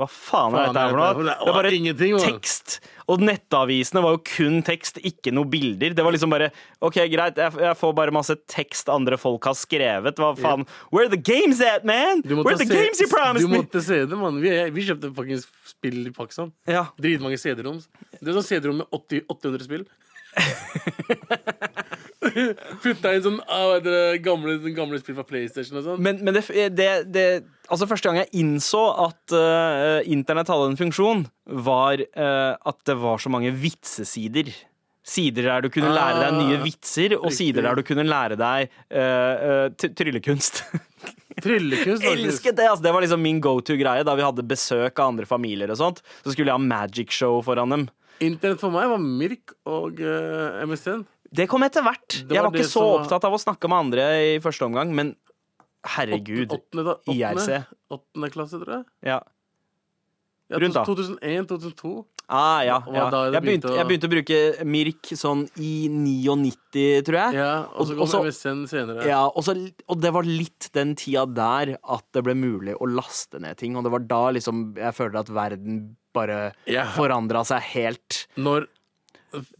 C: Hva faen er
E: Faen,
C: dette her for noe?
E: det er-
C: Det er bare
E: ingenting, man.
C: tekst. Og nettavisene var jo kun tekst, ikke noe bilder. Det var liksom bare OK, greit, jeg, jeg får bare masse tekst andre folk har skrevet. Hva faen? Where the games at, man?
E: Du måtte
C: Where the
E: se-
C: games you promised
E: Du
C: me?
E: måtte se det, mann. Vi, vi kjøpte faktisk spill i Pakistan.
C: Ja.
E: Dritmange CD-rom. Det er sånn CD-rom med 80, 800 spill. Putta inn sånn ah, hva heter det, gamle, sånn gamle spill fra PlayStation og sånn.
C: Men, men det, det, det Altså, første gang jeg innså at eh, internett hadde en funksjon, var eh, at det var så mange vitsesider. Sider der du kunne lære deg nye
E: Ah,
C: vitser, og
E: riktig.
C: sider der du kunne lære deg eh, eh, t- tryllekunst.
E: Tryllekunst. faktisk.
C: Elsket det! Altså, det var liksom min go to-greie da vi hadde besøk av andre familier og sånt. Så skulle jeg ha magic show foran dem.
E: Internett for meg var Mirk og eh, MSN.
C: Det kom etter hvert. Jeg
E: Det var
C: var ikke
E: det
C: så
E: som var-
C: opptatt av å snakke med andre i første omgang, men Herregud.
E: Åttende, da- åttende,
C: IRC.
E: åttende klasse, tror jeg.
C: Ja.
E: Ja,
C: Rundt da.
E: 2001-2002.
C: Ah, ja,
E: Hva- hva
C: ja.
E: da er
C: Jeg,
E: det
C: begynte,
E: begynte å-
C: jeg begynte å bruke Mirk sånn i 99, tror jeg.
E: Ja, og så
C: Ah. Og-
E: kom
C: og så-
E: MSN senere.
C: Ja, og, så, og det var litt den tida der at det ble mulig å laste ned ting. Og det var da liksom jeg føler at verden bare
E: Ja.
C: forandra seg helt.
E: Når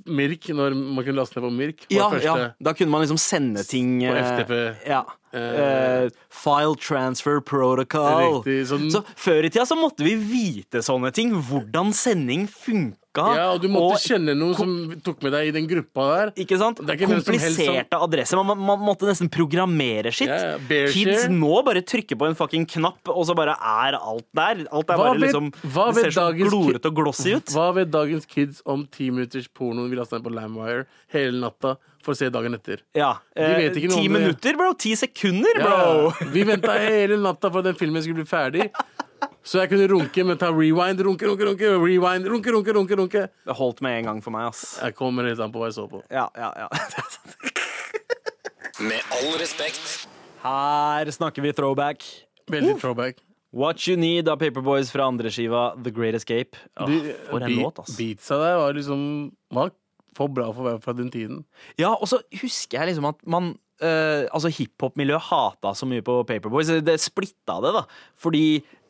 E: Mirk, når man kunne laste ned på Mirk, var
C: Ja,
E: det
C: ja,
E: første.
C: da kunne man liksom sende ting
E: På
C: eh,
E: FTP.
C: Ja. Eh, file transfer protocol.
E: Riktig, sånn-
C: Så før i tida så måtte vi vite sånne ting. Hvordan sending funka.
E: Ja, og du måtte kjenne noen som tok med deg i den gruppa der.
C: ikke sant?
E: Det er ikke hvem som helst som-
C: Kompliserte adresser. Man, man måtte nesten programmere sitt.
E: Ja, ja, bear
C: Kids
E: share.
C: nå bare trykker på en fucking knapp, og så bare er alt der. Alt er
E: Hva
C: bare
E: vet-
C: liksom
E: hva
C: Det
E: vet
C: ser så
E: dagens ki-
C: glorete og glossy ut.
E: Hva vet dagens kids om ti minutters porno vi lasta ned på LimeWire hele natta for å se dagen etter?
C: Ja. eh,
E: vet ikke noe
C: ti
E: om det.
C: minutter, bro. Ti sekunder,
E: Ja,
C: bro.
E: vi venta hele natta for at den filmen skulle bli ferdig. Så jeg kunne runke, men ta rewind, runke, runke, runke, rewind, runke, runke, runke. runke
C: Det holdt med en gang for meg, ass.
E: Jeg kommer helt an på hva jeg så på.
C: Ja, ja, ja. Det er sant.
A: Med all respekt.
C: Her snakker vi throwback.
E: Veldig throwback.
C: What You Need av Paperboys fra andreskiva The Great Escape. Åh, for en
E: Be-
C: låt, ass.
E: Beatsa der var liksom var for bra for å være fra den tiden.
C: Ja, og så husker jeg liksom at man eh, Altså, hiphop-miljøet hata så mye på Paperboys. Det splitta det, da. Fordi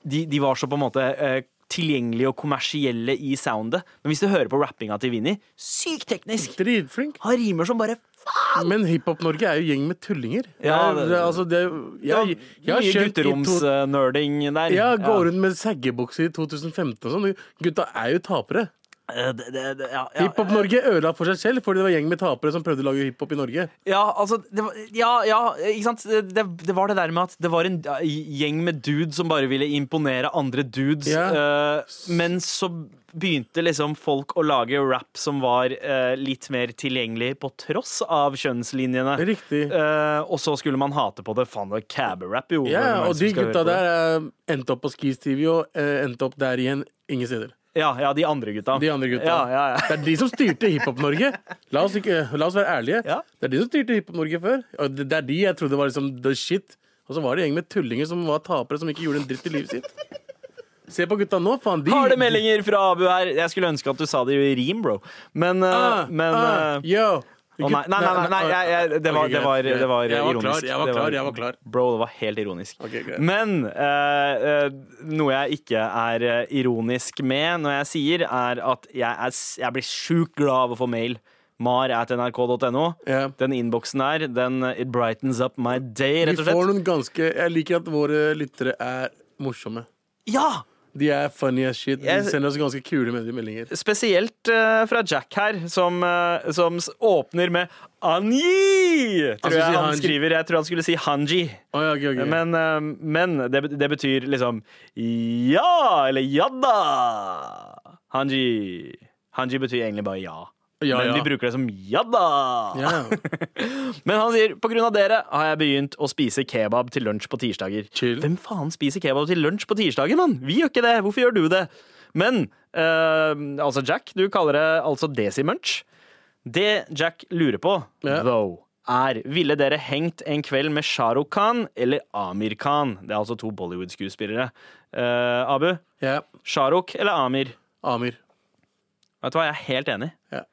C: de, de var så på en måte eh, tilgjengelige og kommersielle i soundet. Men hvis du hører på rappinga til Vinni, sykt teknisk!
E: Dritflink.
C: Han rimer som bare faen!
E: Men Hiphop-Norge er jo gjeng med tullinger.
C: Ja, det-
E: det, er- det, er- altså, det, er- jeg, jeg
C: Mye
E: har
C: eh,
E: kjøpt i to
C: gutteromsnerding der.
E: Jeg går rundt med saggebukser i 2015 og sånn. Gutta er jo tapere.
C: Eh, det- det- det- ja, eh, ja.
E: Hiphop-Norge ødela for seg selv fordi det var gjeng med tapere som prøvde å lage hiphop i Norge.
C: Ja, altså det var, Ja, ja, ikke sant? Det, det var det der med at det var en gjeng med dudes som bare ville imponere andre dudes.
E: Ja.
C: eh, men så begynte liksom folk å lage rap som var eh, litt mer tilgjengelig på tross av kjønnslinjene.
E: Riktig.
C: Eh, og så skulle man hate på det. Faen, det var cab-rap, jo. Hvem er
E: Ja,
C: det
E: og
C: som
E: de
C: skal høre
E: gutta
C: på det?
E: der eh, endte opp på Skis TV og eh, endte opp der igjen ingen steder.
C: Ja, ja, de andre gutta.
E: De andre gutta.
C: Ja, ja, ja.
E: Det er de som styrte Hiphop-Norge. La, oss ikke- la oss være ærlige.
C: Ja.
E: Det er de som styrte Hiphop-Norge før. Og det, det er de jeg trodde var liksom the shit. Og så var det en gjeng med tullinger som var tapere, som ikke gjorde en dritt i livet sitt. Se på gutta nå, faen. De,
C: Harde meldinger fra Abu her. Jeg skulle ønske at du sa det i rim, bro. Men, eh,
E: Ah,
C: men
E: ah,
C: eh,
E: yo.
C: Å, nei, nei, nei, nei, nei jeg, jeg, det, var,
E: Ok,
C: det, var,
E: greit,
C: det var
E: greit. Jeg var
C: ironisk.
E: klar, jeg var
C: Det
E: klar, jeg var klar.
C: Bro, det var helt ironisk.
E: Ok, greit.
C: Men eh, eh, noe jeg ikke er eh, ironisk med når jeg sier, er at jeg, er, s- jeg blir sjukt glad av å få mail. Mar at nrk.no.
E: Ja.
C: Den innboksen der, den eh, it brightens up my day, rett
E: Vi
C: og
E: får
C: slett.
E: noen ganske Jeg liker at våre lyttere er morsomme.
C: Ja!
E: De er funny as shit. De
C: Jeg-
E: sender oss ganske kule med- meldinger.
C: Spesielt eh, fra Jack her, som, eh, som s- åpner med Anji!
E: Han
C: Tror
E: skulle Altså, si
C: jeg han
E: Hanji.
C: skriver. Jeg tror han skulle si Hanji.
E: Å, ja, ok, ok.
C: Men, eh, men det, det betyr liksom ja eller jadda. Hanji. Hanji betyr egentlig bare ja.
E: Ja,
C: men
E: ja.
C: vi bruker det som jadda.
E: ja.
C: Men han sier på grunn av dere har jeg begynt å spise kebab til lunsj på tirsdager.
E: Chill.
C: Hvem faen spiser kebab til lunsj på tirsdager, mann? Vi gjør ikke det. Hvorfor gjør du det? Men eh, altså Jack, du kaller det altså desimunch. Det Jack lurer på,
E: Ja.
C: though, er ville dere hengt en kveld med Shahrukh Khan eller Amir Khan? Det er altså to Bollywood-skuespillere. Eh, Abu,
E: ja.
C: Shahrukh eller Amir?
E: Amir.
C: Vet du hva, jeg er helt enig.
E: Ja.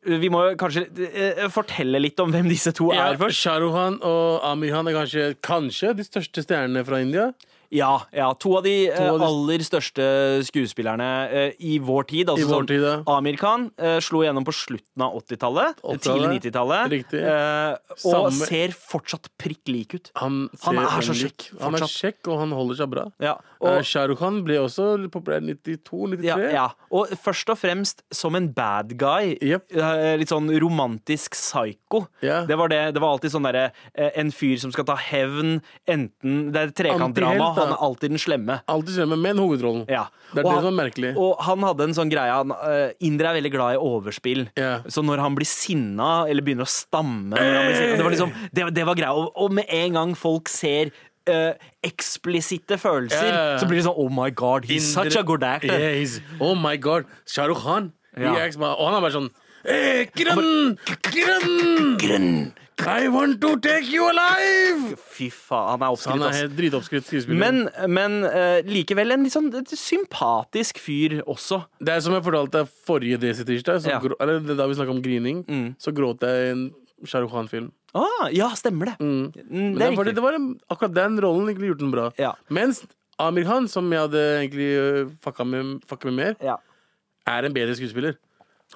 C: Vi må jo kanskje eh, fortelle litt om hvem disse to
E: Ja,
C: er først.
E: Sharuhan og Amirhan er kanskje, kanskje de største stjernene fra India.
C: Ja, ja. To av de, eh,
E: av de-
C: aller største skuespillerne eh, i vår tid. Altså
E: I vår
C: sånn,
E: tid, ja.
C: Amir Khan eh, slo gjennom på slutten av 80-tallet,
E: 80-tallet,
C: tidlig 90-tallet.
E: riktig.
C: eh, og
E: Samme-
C: ser fortsatt prikk lik ut.
E: Han,
C: Han
E: ser
C: er så
E: veldig-
C: kjekk,
E: Han er
C: fortsatt.
E: kjekk, og han holder seg bra.
C: Ja,
E: Og
C: og,
E: Sharuhan ble også populær i 92-93.
C: ja, ja. og først og fremst som en bad guy.
E: Jep.
C: Eh, Litt sånn romantisk psyko.
E: Ja.
C: Det, var det, det var alltid sånn derre eh, En fyr som skal ta hevn, enten Det er trekantdrama,
E: Antihelt, da.
C: han er alltid den slemme.
E: Alltid slemme, men hovedrollen.
C: Ja.
E: Det er
C: Og
E: det
C: han-
E: som er merkelig.
C: Og han hadde en sånn greie han, eh, Indre er veldig glad i overspill.
E: Ja.
C: Så når han blir sinna, eller begynner å stamme når han blir sinna, Det var, liksom, det, det var greia. Og, og med en gang folk ser eh, eksplisitte følelser,
E: Ja.
C: så blir det sånn Oh my god, he's such a good actor.
E: Yeah, he's, oh my god, Sharuhan.
C: Ja.
E: Og han er bare sånn Eh, grønn! Grønn!
C: Grønn,
E: I want to take you alive!
C: Fy faen, han er
E: Så
C: oppskrytt,
E: han er
C: ass.
E: helt dritoppskrytt skuespiller.
C: Men, men eh, likevel en litt sånn sympatisk fyr også.
E: det er som jeg fortalte deg forrige DC-tirsdag,
C: Ja. Mm.
E: eller det da vi snakka om grining, så gråt jeg i en Shah Rukh Khan-film.
C: Ah, ja, stemmer det. Mm,
E: Men
C: det
E: det
C: er
E: er fordi
C: riktig.
E: det var en, akkurat den rollen egentlig gjorde den bra.
C: Ja.
E: Mens Amir Khan, som jeg hadde egentlig øh, fucka med, fucka med mer,
C: Ja.
E: er en bedre skuespiller.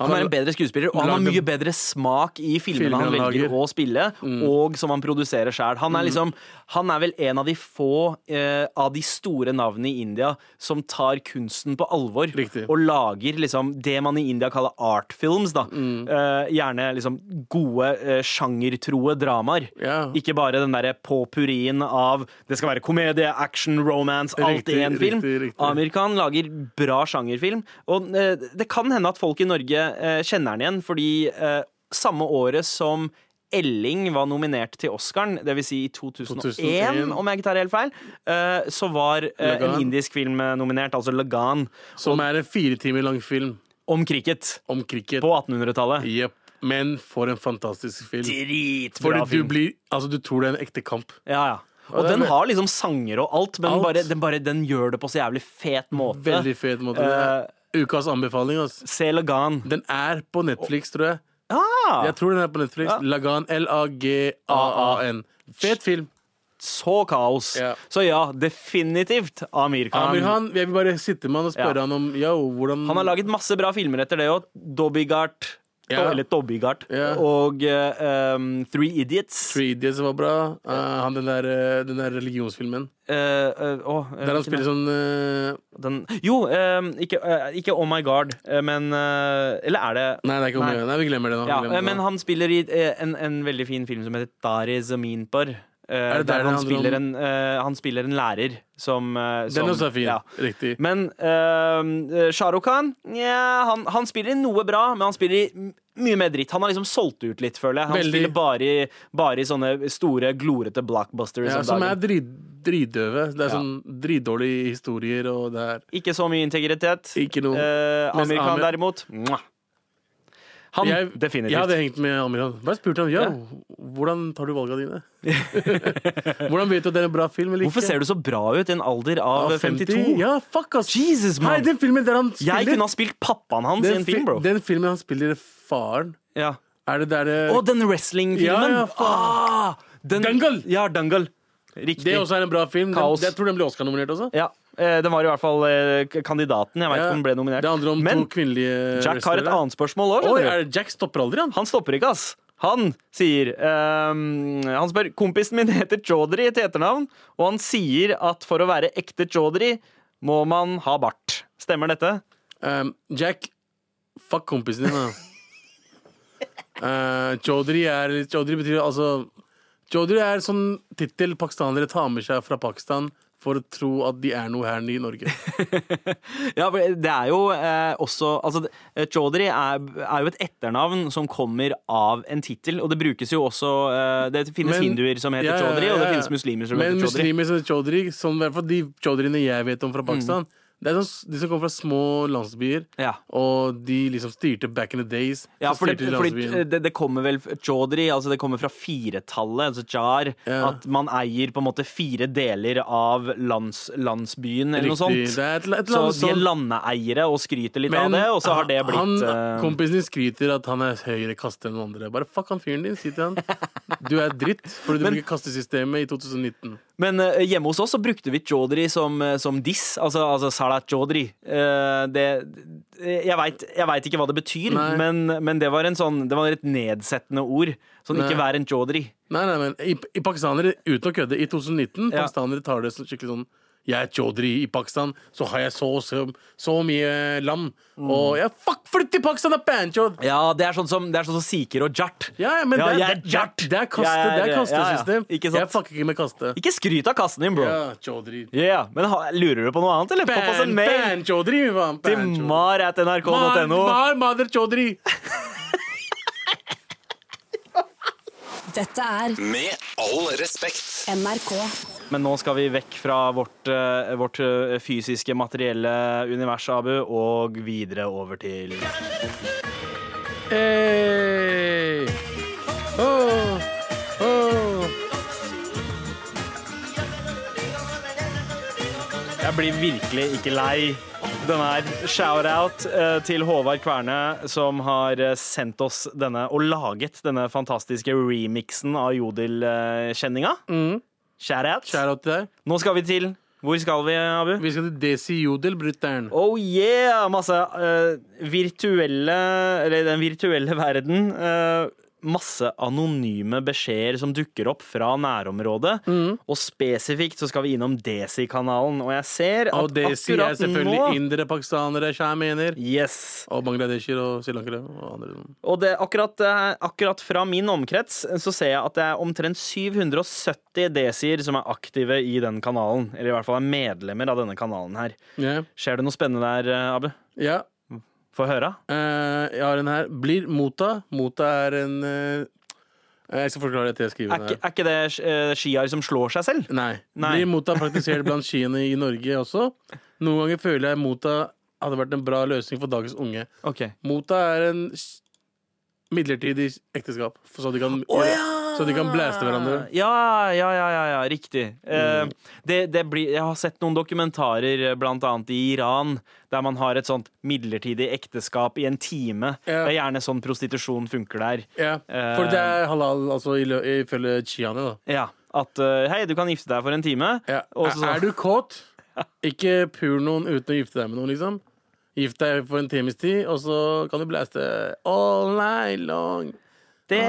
C: Han er en bedre skuespiller, og han har
E: Lagde-
C: mye bedre smak i filmene
E: Filmene
C: han
E: han
C: velger
E: lager.
C: å spille,
E: Mm.
C: og som han produserer sjøl. Han, er liksom, han er vel en av de få eh, av de store navnene i India som tar kunsten på alvor
E: Riktig.
C: og lager liksom det man i India kaller art films. Da.
E: Mm.
C: Eh, gjerne liksom gode, eh, sjangertroe dramaer.
E: Ja.
C: Ikke bare den derre påpurien av det skal være komedie, action, romance, alt i
E: Riktig,
C: en film.
E: riktig, riktig.
C: Amir Khan lager bra sjangerfilm, og eh, det kan hende at folk i Norge eh, kjenner den igjen, fordi eh, samme året som Elling var nominert til Oscaren, dvs. Si i 2001,
E: 2001.
C: om jeg ikke tar helt feil, eh, så var eh, en
E: Lagan.
C: indisk film eh, nominert, altså Lagan,
E: Som er en fire timer lang film
C: om cricket
E: om cricket.
C: på 1800-tallet.
E: Jepp. Men for en fantastisk film. Fordi
C: Dritbra
E: du
C: film.
E: blir Altså, du tror det er en ekte kamp.
C: Ja, ja. Og
E: det er
C: den
E: ve-
C: har liksom sanger og alt, men
E: Alt.
C: Bare, den, bare, den gjør det på så jævlig fet måte.
E: Veldig fet måte.
C: Eh.
E: Det er Ukas anbefaling, altså.
C: Se Lagan.
E: Den er på Netflix, tror jeg.
C: Ah,
E: Jeg tror den er på Netflix. Lagan. L-A-G-A-A-N. Fet film.
C: så kaos.
E: Ja.
C: Så ja, definitivt Amir Khan.
E: Amir Khan, jeg vil bare sitte med han og
C: Um,
E: spørre
C: Ja.
E: han om yo, hvordan
C: Han har laget masse bra filmer etter det òg. Dobbygard.
E: Ja.
C: Eller Dobbygard.
E: Ja.
C: Og eh, um, Three Idiots.
E: Three Idiots var bra. Eh, han den der, eh, den der religionsfilmen.
C: Eh, eh, åh, eh,
E: Der han
C: hvilken
E: spiller
C: er-
E: sånn eh,
C: den, Jo, eh, ikke, eh, ikke Oh My God, eh, men eh, Eller er det
E: Nei, det er ikke om
C: Nei.
E: å gjøre. Nei, vi glemmer det nå. vi
C: Ja,
E: glemmer det
C: eh, men
E: nå.
C: han spiller i eh, en, en veldig fin film som heter Dari Zaminpar.
E: Er
C: Uh,
E: det
C: der
E: der det
C: han
E: handler om-
C: spiller, en, eh, han spiller en lærer som, eh, som
E: den også er fin.
C: ja.
E: Riktig.
C: Men uh, Shahrukh Khan nja, han, han spiller i noe bra, men han spiller i m- mye mer dritt. Han har liksom solgt ut litt, føler jeg. Han
E: Veldig.
C: spiller bare i, bare i sånne store, glorete blockbusters
E: Ja,
C: om
E: som er
C: dagen.
E: drit, dritdøve. Det er
C: Ja.
E: sånn dritdårlige historier, og det er
C: Ikke så mye integritet.
E: ikke noe
C: Uh,
E: Mens
C: Amir Khan,
E: Amir-
C: derimot mwah. Han,
E: jeg,
C: definitivt.
E: Jeg hadde hengt med Amir Khan. Bare spurt ham ja,
C: Ja.
E: hvordan tar du valga dine. hvordan vet du at det er en bra film eller ikke?
C: Hvorfor ser du så bra ut i en alder
E: Av
C: av 52?
E: Ja, fuck, ass.
C: Jesus,
E: Nei,
C: mann!
E: den filmen der han spiller
C: Jeg kunne ha spilt pappaen hans i
E: den,
C: en film,
E: fi-
C: bro.
E: den filmen han spiller faren
C: ja.
E: Er det der det-
C: Og den wrestlingfilmen!
E: Ja, ja, faen.
C: ah, den-
E: Dangal.
C: Ja, Dangal. Riktig.
E: Det også er en bra film. Den,
C: Kaos.
E: jeg tror den ble Oscar-nominert også.
C: Ja, eh, Den var i hvert fall eh, k- kandidaten. Jeg vet
E: Ja,
C: ikke om den ble nominert.
E: Det handler om
C: Men
E: to kvinnelige
C: Jack har et
E: wrestlere.
C: annet spørsmål òg.
E: Oi, er det Jack stopper aldri, han.
C: Han stopper ikke, ass. Han sier ehm, Han spør kompisen min heter Chaudhry til etternavn, og han sier at for å være ekte Chaudhry må man ha bart. Stemmer dette?
E: Um, Jack, fuck kompisen din, da. uh, Chaudhry er Chaudhry betyr altså Chaudhry er sånn tittel pakistanere tar med seg fra Pakistan for å tro at de er noe her i Norge.
C: Ja, for det er jo eh, også Altså, det- eh, Chaudhry er, er jo et etternavn som kommer av en tittel, og det brukes jo også eh, Det finnes
E: Men-
C: hinduer som heter
E: Ja, ja, ja,
C: Chaudhry, og det
E: ja, ja.
C: finnes muslimer som
E: Men
C: heter Chaudhry. Mm.
E: muslimer som heter Chaudhry, som i hvert fall de Chaudhryene jeg vet om fra Pakistan, det er sånn, de som kommer fra små landsbyer,
C: Ja.
E: og de liksom styrte back in the days.
C: Ja,
E: så
C: for det,
E: styrte de altså
C: fordi eh,
E: landsbyen.
C: det, det kommer vel Chaudhry, altså det kommer fra firetallet, altså jar,
E: Ja.
C: at man eier på en måte fire deler av lands, landsbyen eller
E: Riktig.
C: noe sånt.
E: Det er et, et eller
C: Så
E: annet
C: de er
E: sånt.
C: landeeiere og skryter litt av
E: Men
C: det, og så har det blitt
E: han,
C: eh,
E: Kompisen din skryter at han er høyere kastet enn andre. Bare fuck han fyren din, si til han. Du er dritt fordi du bruker kastesystemet i 2019.
C: Men eh, hjemme hos oss så brukte vi Chaudhry som, eh, som diss, altså, altså Salat Chaudhry. Eh, det, jeg veit jeg vet ikke hva det betyr,
E: Nei.
C: men, men det var en sånn, det var et nedsettende ord. Sånn ikke
E: Nei.
C: vær en Chaudhry.
E: Nei, nei, men i, i pakistanere, uten å kødde, i 2019
C: Ja.
E: Pakistanere tar det så, skikkelig sånn Jeg er chaudhry i Pakistan, så har jeg så, så, så mye lam.
C: Mm.
E: Og jeg fuck, flytt til Pakistan, da, panchod!
C: Ja, det er sånn som, det er sånn som sikher og jart.
E: Ja, ja, men
C: Ja,
E: det,
C: jeg
E: er-
C: er
E: det, er-
C: jart.
E: det er kaste,
C: Jeg er-
E: det er
C: ja, ja.
E: kastesystem.
C: Ikke sant?
E: Jeg fucker ikke med kaste.
C: Ikke skryt av kassen din, bro.
E: Ja,
C: Yeah,
E: chaudhry.
C: Men ha, lurer du på noe annet, eller? Pop oss en
E: Pan,
C: mail
E: pan, chaudhry, faen.
C: til
E: Pan, chaudhry.
C: mar.nrk.no.
E: Mar, mother chaudhry.
D: Dette er
A: Med all respekt.
D: NRK.
C: Men nå skal vi vekk fra vårt, eh, vårt eh, fysiske, materielle univers, Abu, og videre over til
E: Eh. Hey. Oh.
C: Jeg blir virkelig ikke lei. Den er shout-out eh, til Håvard Kverne, som har eh, sendt oss denne og laget denne fantastiske remixen av Jodel-kjenninga.
E: Mm.
C: Shout-out.
E: Shout-out til deg.
C: Nå skal vi til Hvor skal vi, Abu?
E: Vi skal til Desi Jodel, brutter'n.
C: Oh yeah! Masse eh, virtuelle Eller i den virtuelle verden. eh, masse anonyme beskjeder som dukker opp fra nærområdet.
E: Mm.
C: Og spesifikt så skal vi innom Desi-kanalen, og jeg ser at
E: Og Desi er
C: akkurat
E: selvfølgelig
C: nå
E: indere, pakistanere, shamener.
C: Yes.
E: Og bangladesher og srilankere og andre.
C: Og det, akkurat, eh, akkurat fra min omkrets eh, så ser jeg at det er omtrent 770 desier som er aktive i den kanalen. Eller i hvert fall er medlemmer av denne kanalen her.
E: Ja.
C: Skjer det noe spennende der, eh, Abu?
E: ja.
C: Få høre.
E: Eh, jeg har en her. Blir Mota. Mota er en eh, Jeg skal forklare etter jeg skriver
C: Er,
E: den
C: ikke-
E: her.
C: er ikke det eh, skier som slår seg selv?
E: Nei.
C: Nei.
E: Blir Mota praktisert blant skiene i Norge også? Noen ganger føler jeg Mota hadde vært en bra løsning for dagens unge.
C: Ok.
E: Mota er en s- midlertidig ekteskap, for så de kan, så de kan blaste hverandre. Mm.
C: Ja, ja, ja, ja, ja riktig. Eh, det, det blir, jeg har sett noen dokumentarer, eh, blant annet i Iran, der man har et sånt midlertidig ekteskap i en time.
E: Ja.
C: Det er gjerne sånn prostitusjon funker der.
E: Ja, For det er halal, altså i lø- ifølge chiaene, da.
C: Ja, At eh, hei, du kan gifte deg for en time.
E: Ja.
C: Og så-
E: Er du kåt? Ikke pul noen uten å gifte deg med noen, liksom. Gift deg for en times tid, og så kan du blaste all night long.
C: Det,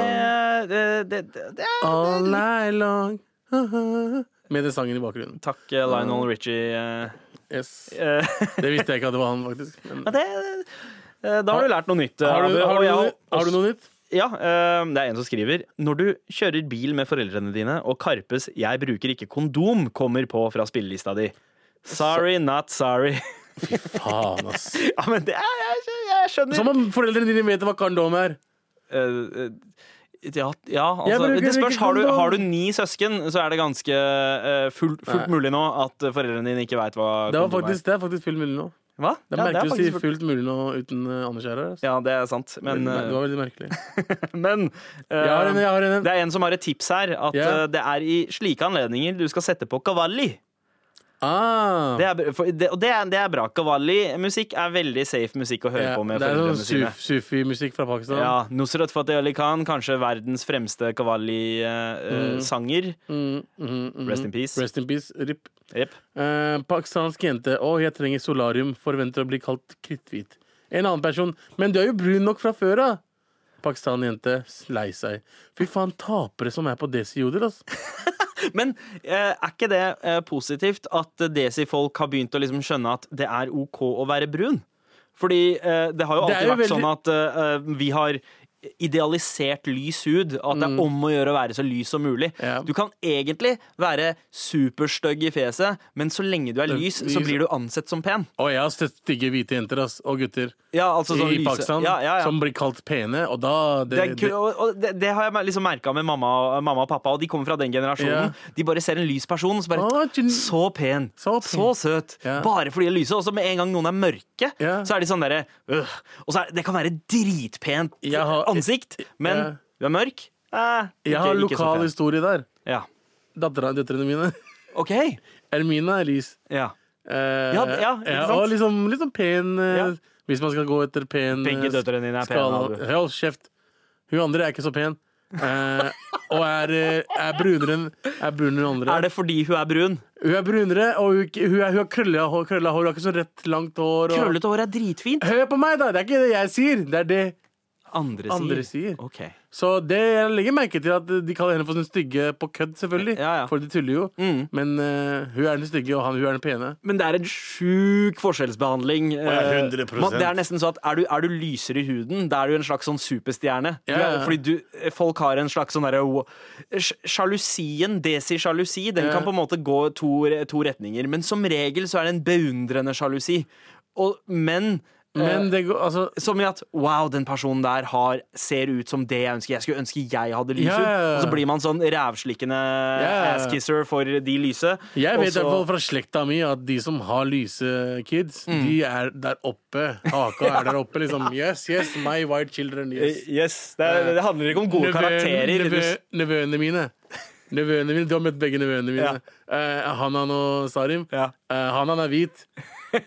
C: det, det, det, det er
E: All night long. Med den sangen i bakgrunnen.
C: Takk, eh,
E: Ah.
C: Lionel Richie. eh,
E: Yes.
C: eh,
E: Det visste jeg ikke at det var han, faktisk. Men,
C: ja, det, eh, da har du lært noe nytt. eh,
E: har, du,
C: Abu, og
E: har, du,
C: jeg
E: noe- har du noe nytt?
C: Ja, eh, det er en som skriver Når du kjører bil med foreldrene dine og Karpes 'Jeg bruker ikke kondom' kommer på fra spillelista di. Sorry, not sorry.
E: Faen, ass.
C: ja, men det er, jeg, skjø- jeg skjønner.
E: Som om foreldrene dine vet hva kondom er.
C: Eh, eh, ja, ja,
E: Jeg
C: altså
E: bruker
C: Det spørs.
E: ikke
C: Har du,
E: kondom.
C: har du ni søsken, så er det ganske eh, fullt, fullt
E: Nei.
C: mulig nå at eh, foreldrene dine ikke veit hva
E: Det, var
C: kondom
E: faktisk, det er faktisk fullt mulig nå.
C: er. Hva?
E: Det er
C: Ja,
E: merkelig
C: faktisk
E: å si
C: fullt-
E: fullt mulig nå uten eh, Anders her. ass.
C: Ja, det er sant. Men,
E: det
C: eh,
E: var veldig merkelig.
C: men eh,
E: Jeg har en, jeg har en.
C: det er en som har et tips her. At
E: Ja.
C: eh, det er i slike anledninger du skal sette på Cavalli.
E: Ah.
C: Det er, br- for, det, og det er, det er bra. Kawali-musikk er veldig safe musikk å høre
E: Ja,
C: på med
E: det er
C: foreldrene
E: sånn
C: sine.
E: suf sufi-musikk fra Pakistan.
C: Ja, Nusrat Fateh Ali Khan, kanskje verdens fremste kawali-sanger.
E: Mm, mm, mm.
C: Rest in peace.
E: Rest in peace. RIP.
C: Jep.
E: Eh, pakistansk jente. Å, jeg trenger solarium. Forventer å bli kalt kritthvit. En annen person. Men du er jo brun nok fra før av. Pakistanjente. Lei seg. Fy faen, tapere som er på desijoder, ass.
C: Men eh, er ikke det eh, positivt at eh, desi-folk har begynt å liksom skjønne at det er OK å være brun? Fordi eh, det har jo
E: Det er
C: alltid
E: jo
C: vært
E: veldig-
C: sånn at eh, eh, vi har idealisert lys hud. At det er om å gjøre å være så lys som mulig.
E: Mm. Ja.
C: Du kan egentlig være superstygg i fjeset, men så lenge du er lys, så
E: lys-
C: blir du ansett som pen.
E: Og jeg har støtt stygge hvite jenter ass, og gutter
C: Ja, altså sånn
E: i
C: lyse-
E: Pakistan
C: ja, ja, ja.
E: som blir kalt pene, og da
C: det, er ku- og, og det, det har jeg liksom merka med mamma, og- mamma og pappa, og de kommer fra den generasjonen.
E: Ja.
C: De bare ser en lys person, og så bare
E: Å, Jin-
C: Så pen, så,
E: Så pen.
C: søt.
E: Ja.
C: Bare fordi de er lyse. Og så med en gang noen er mørke,
E: Ja.
C: så er de sånn derre øh. Og så er, det kan være dritpent
E: Jeg har-
C: ansikt, men
E: Ja.
C: du er mørk. Eh,
E: Jeg har
C: ikke- ikke så
E: lokal
C: pen.
E: historie der.
C: Ja.
E: Dattera, døtrene mine.
C: OK.
E: Ermina Elise.
C: Ja.
E: Eh,
C: Ja, ja, ikke sant?
E: og liksom, liksom pen eh,
C: Ja.
E: Hvis man skal gå etter pen
C: Begge
E: eh,
C: døtrene dine er pene,
E: skala-
C: Abu.
E: Hold kjeft. Hun andre er ikke så pen. Eh, og er, eh, er brunere enn er brunere enn andre.
C: Er det fordi hun er brun?
E: Hun er brunere, og hun, hun, er, hun har krølla hår. Krølla hår, hun har ikke så rett, langt hår. Og...
C: Krøllete hår er dritfint.
E: Hør på meg, da! Det er ikke det jeg sier. Det er det
C: Andre sier.
E: andre sier.
C: OK.
E: Så det jeg legger merke til at de kaller henne for den stygge på kødd, selvfølgelig.
C: Ja, Mm. ja.
E: For de tuller jo. Men eh, hun er den stygge, og han, hun er den pene.
C: Men det er en sjuk forskjellsbehandling.
E: ja,
C: Eh,
E: 100%.
C: man- Det er nesten sånn at er du, er du lysere i huden, da er du en slags sånn superstjerne. Du
E: Ja, ja,
C: er-
E: ja.
C: Fordi du, eh, folk har en slags sånn derre wo- sj- Sjalusien, desi-sjalusi, den
E: Ja.
C: kan på en måte gå to, to retninger. Men som regel så er det en beundrende sjalusi. Og menn Eh.
E: Men det går, altså
C: som i at wow, den personen der har, ser ut som det jeg ønsker. Jeg skulle ønske jeg hadde lyshud.
E: Ja, ja, ja.
C: Og så blir man sånn rævslikkende
E: ja, ja.
C: asskisser for de lyse.
E: Jeg
C: Og
E: vet i
C: så-
E: hvert fall fra slekta mi at de som har lyse kids,
C: Mm.
E: de er der oppe. Haka er der oppe, liksom. Yes, yes, my
C: Eh,
E: white children, yes.
C: Yes, det, er, det handler ikke om gode
E: Nevø-
C: karakterer.
E: nevø- Nevøene mine. Nevøene mine, Du har møtt begge nevøene mine.
C: Ja.
E: Eh, Hanan og Sarim.
C: Ja.
E: Eh, Hanan er hvit.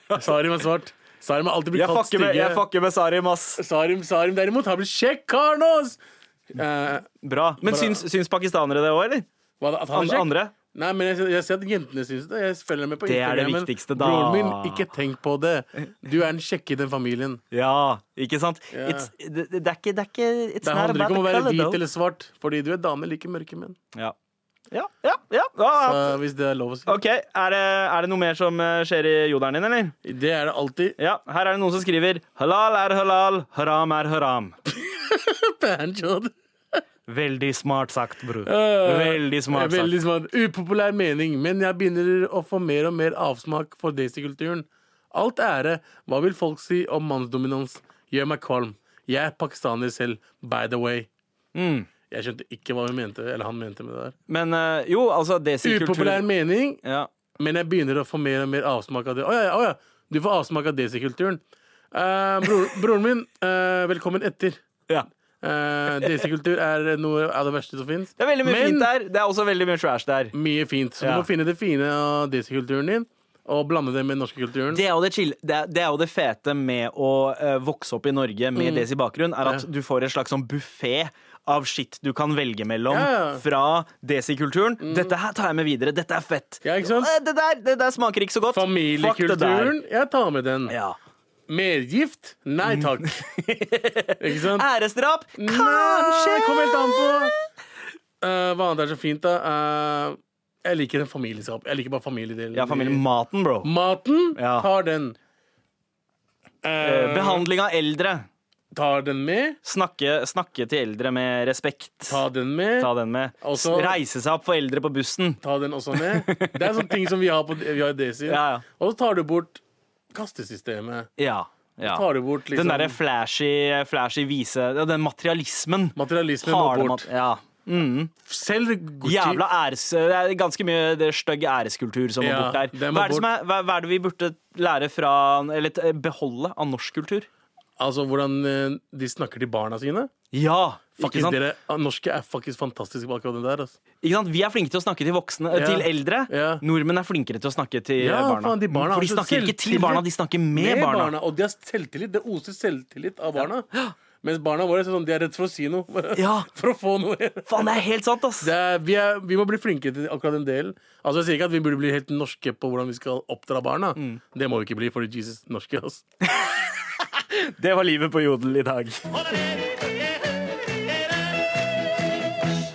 E: Sarim er svart. Sarim har alltid blitt
C: Jeg
E: kalt
C: fucker med, jeg
E: stygge.
C: fucker med Sarim, ass.
E: Sarim, Sarim derimot har blitt kjekk kar nå! ass! Eh,
C: Bra. Men
E: Bra.
C: syns, syns pakistanere det òg, eller?
E: hva da, at han
C: An
E: er kjekk?
C: andre?
E: Nei, men jeg, jeg ser at jentene syns det. Jeg følger med på
C: Det er det
E: Instagramen.
C: viktigste, da.
E: Broren min, ikke tenk på det. Du er den kjekke i den familien.
C: Ja, ikke sant?
E: Ja.
C: It's, det, det er ikke, det Sånn er ikke It's
E: Det
C: not
E: handler
C: about
E: ikke om å
C: the
E: være
C: color,
E: hvit
C: though.
E: eller svart, fordi du er dame, liker mørke menn.
C: Ja. Ja, ja, ja. ja.
E: Eh, hvis det er lov å si.
C: OK, er det, er det noe mer som eh, skjer i joderen din, eller?
E: Det er det alltid.
C: Ja, her er det noen som skriver Halal er halal, haram er haram.
E: Banjod.
C: Veldig smart sagt, bror.
E: Eh,
C: Veldig smart sagt.
E: Veldig smart. Upopulær mening, men jeg begynner å få mer og mer avsmak for daisykulturen. Alt ære. Hva vil folk si om mannsdominans? Gjør meg kvalm. Jeg er pakistaner selv, by the way.
C: Mm.
E: Jeg skjønte ikke hva hun mente, eller han mente med det der.
C: Men eh, jo, altså desikultur
E: Upopulær mening,
C: ja.
E: men jeg begynner å få mer og mer avsmak av det. Å ja, ja, å, ja. Du får avsmak av desikulturen. Eh, bror, broren min, eh, velkommen etter.
C: ja.
E: Uh, desikultur er noe av det verste som fins.
C: Det er veldig mye
E: Men-
C: fint der. Det er også veldig mye trash der.
E: Mye fint. Så
C: Ja.
E: du må finne det fine av desikulturen din, og blande det med den norske kulturen.
C: Det er, jo det, chill, det, er, det er jo det fete med å eh, vokse opp i Norge med desi bakgrunn, er at
E: Ja.
C: du får en slags sånn buffé av shit du kan velge mellom
E: Ja, ja.
C: fra desikulturen. Dette her tar jeg med videre. Dette er fett.
E: Ja, ikke sant?
C: Eh, Det, der, det der smaker ikke så godt. Fuck det der.
E: Familiekulturen, jeg tar med den.
C: Ja.
E: Mergift? Nei takk. Ikke sant?
C: Æresdrap?
E: Nei,
C: Kanskje!
E: det kommer helt an på. Eh, hva annet er så fint, da? Eh, jeg liker den familieskap. Jeg liker bare familiedelen. Eh,
C: Ja, familien Maten, bro.
E: Mm. Maten
C: Ja.
E: tar den.
C: Eh,
E: Eh,
C: Behandling av eldre.
E: tar den med.
C: Snakke, snakke til eldre med respekt.
E: Ta den med.
C: Ta den med.
E: Også-
C: Reise seg opp for eldre på bussen.
E: Ta den også med. Det er sånne ting som vi har på vi har i Desi.
C: Ja, ja.
E: Og så tar du bort kastesystemet.
C: Ja. ja.
E: Tar du bort liksom
C: Den derre flashy, flashy vise ja, Den materialismen.
E: materialismen må
C: Harde
E: bort.
C: mat- ja.
E: Selv Gucci.
C: Jævla æres... Det er ganske mye det stygg æreskultur som må
E: Ja,
C: bort der.
E: det må
C: Hva er, det som er, hva, hva er det vi burde lære fra Eller t- beholde av norsk kultur?
E: Altså hvordan eh, de snakker til barna sine.
C: Ja! Ikke
E: Faktisk,
C: sant?
E: dere, norske er faktisk fantastiske på akkurat det der. Altså.
C: ikke sant? Vi er flinke til å snakke til voksne eh,
E: Ja.
C: Til eldre.
E: Ja.
C: Nordmenn er flinkere til å snakke til eh,
E: Ja,
C: barna.
E: faen, de barna har
C: For de
E: så
C: snakker ikke til
E: selvtillit.
C: barna, de snakker med,
E: med barna.
C: barna.
E: Og de har selvtillit. Det oser selvtillit av barna. Mens barna våre er sånn, de er redd for å si noe. For,
C: Ja.
E: for å få noe.
C: Faen, det er helt sant, ass!
E: Det er, vi, er, vi må bli flinkere til akkurat den delen. Altså Jeg sier ikke at vi burde bli helt norske på hvordan vi skal oppdra barna.
C: Mm.
E: Det må vi ikke bli, for Jesus norske. Altså.
C: Det var livet på Jodel i dag.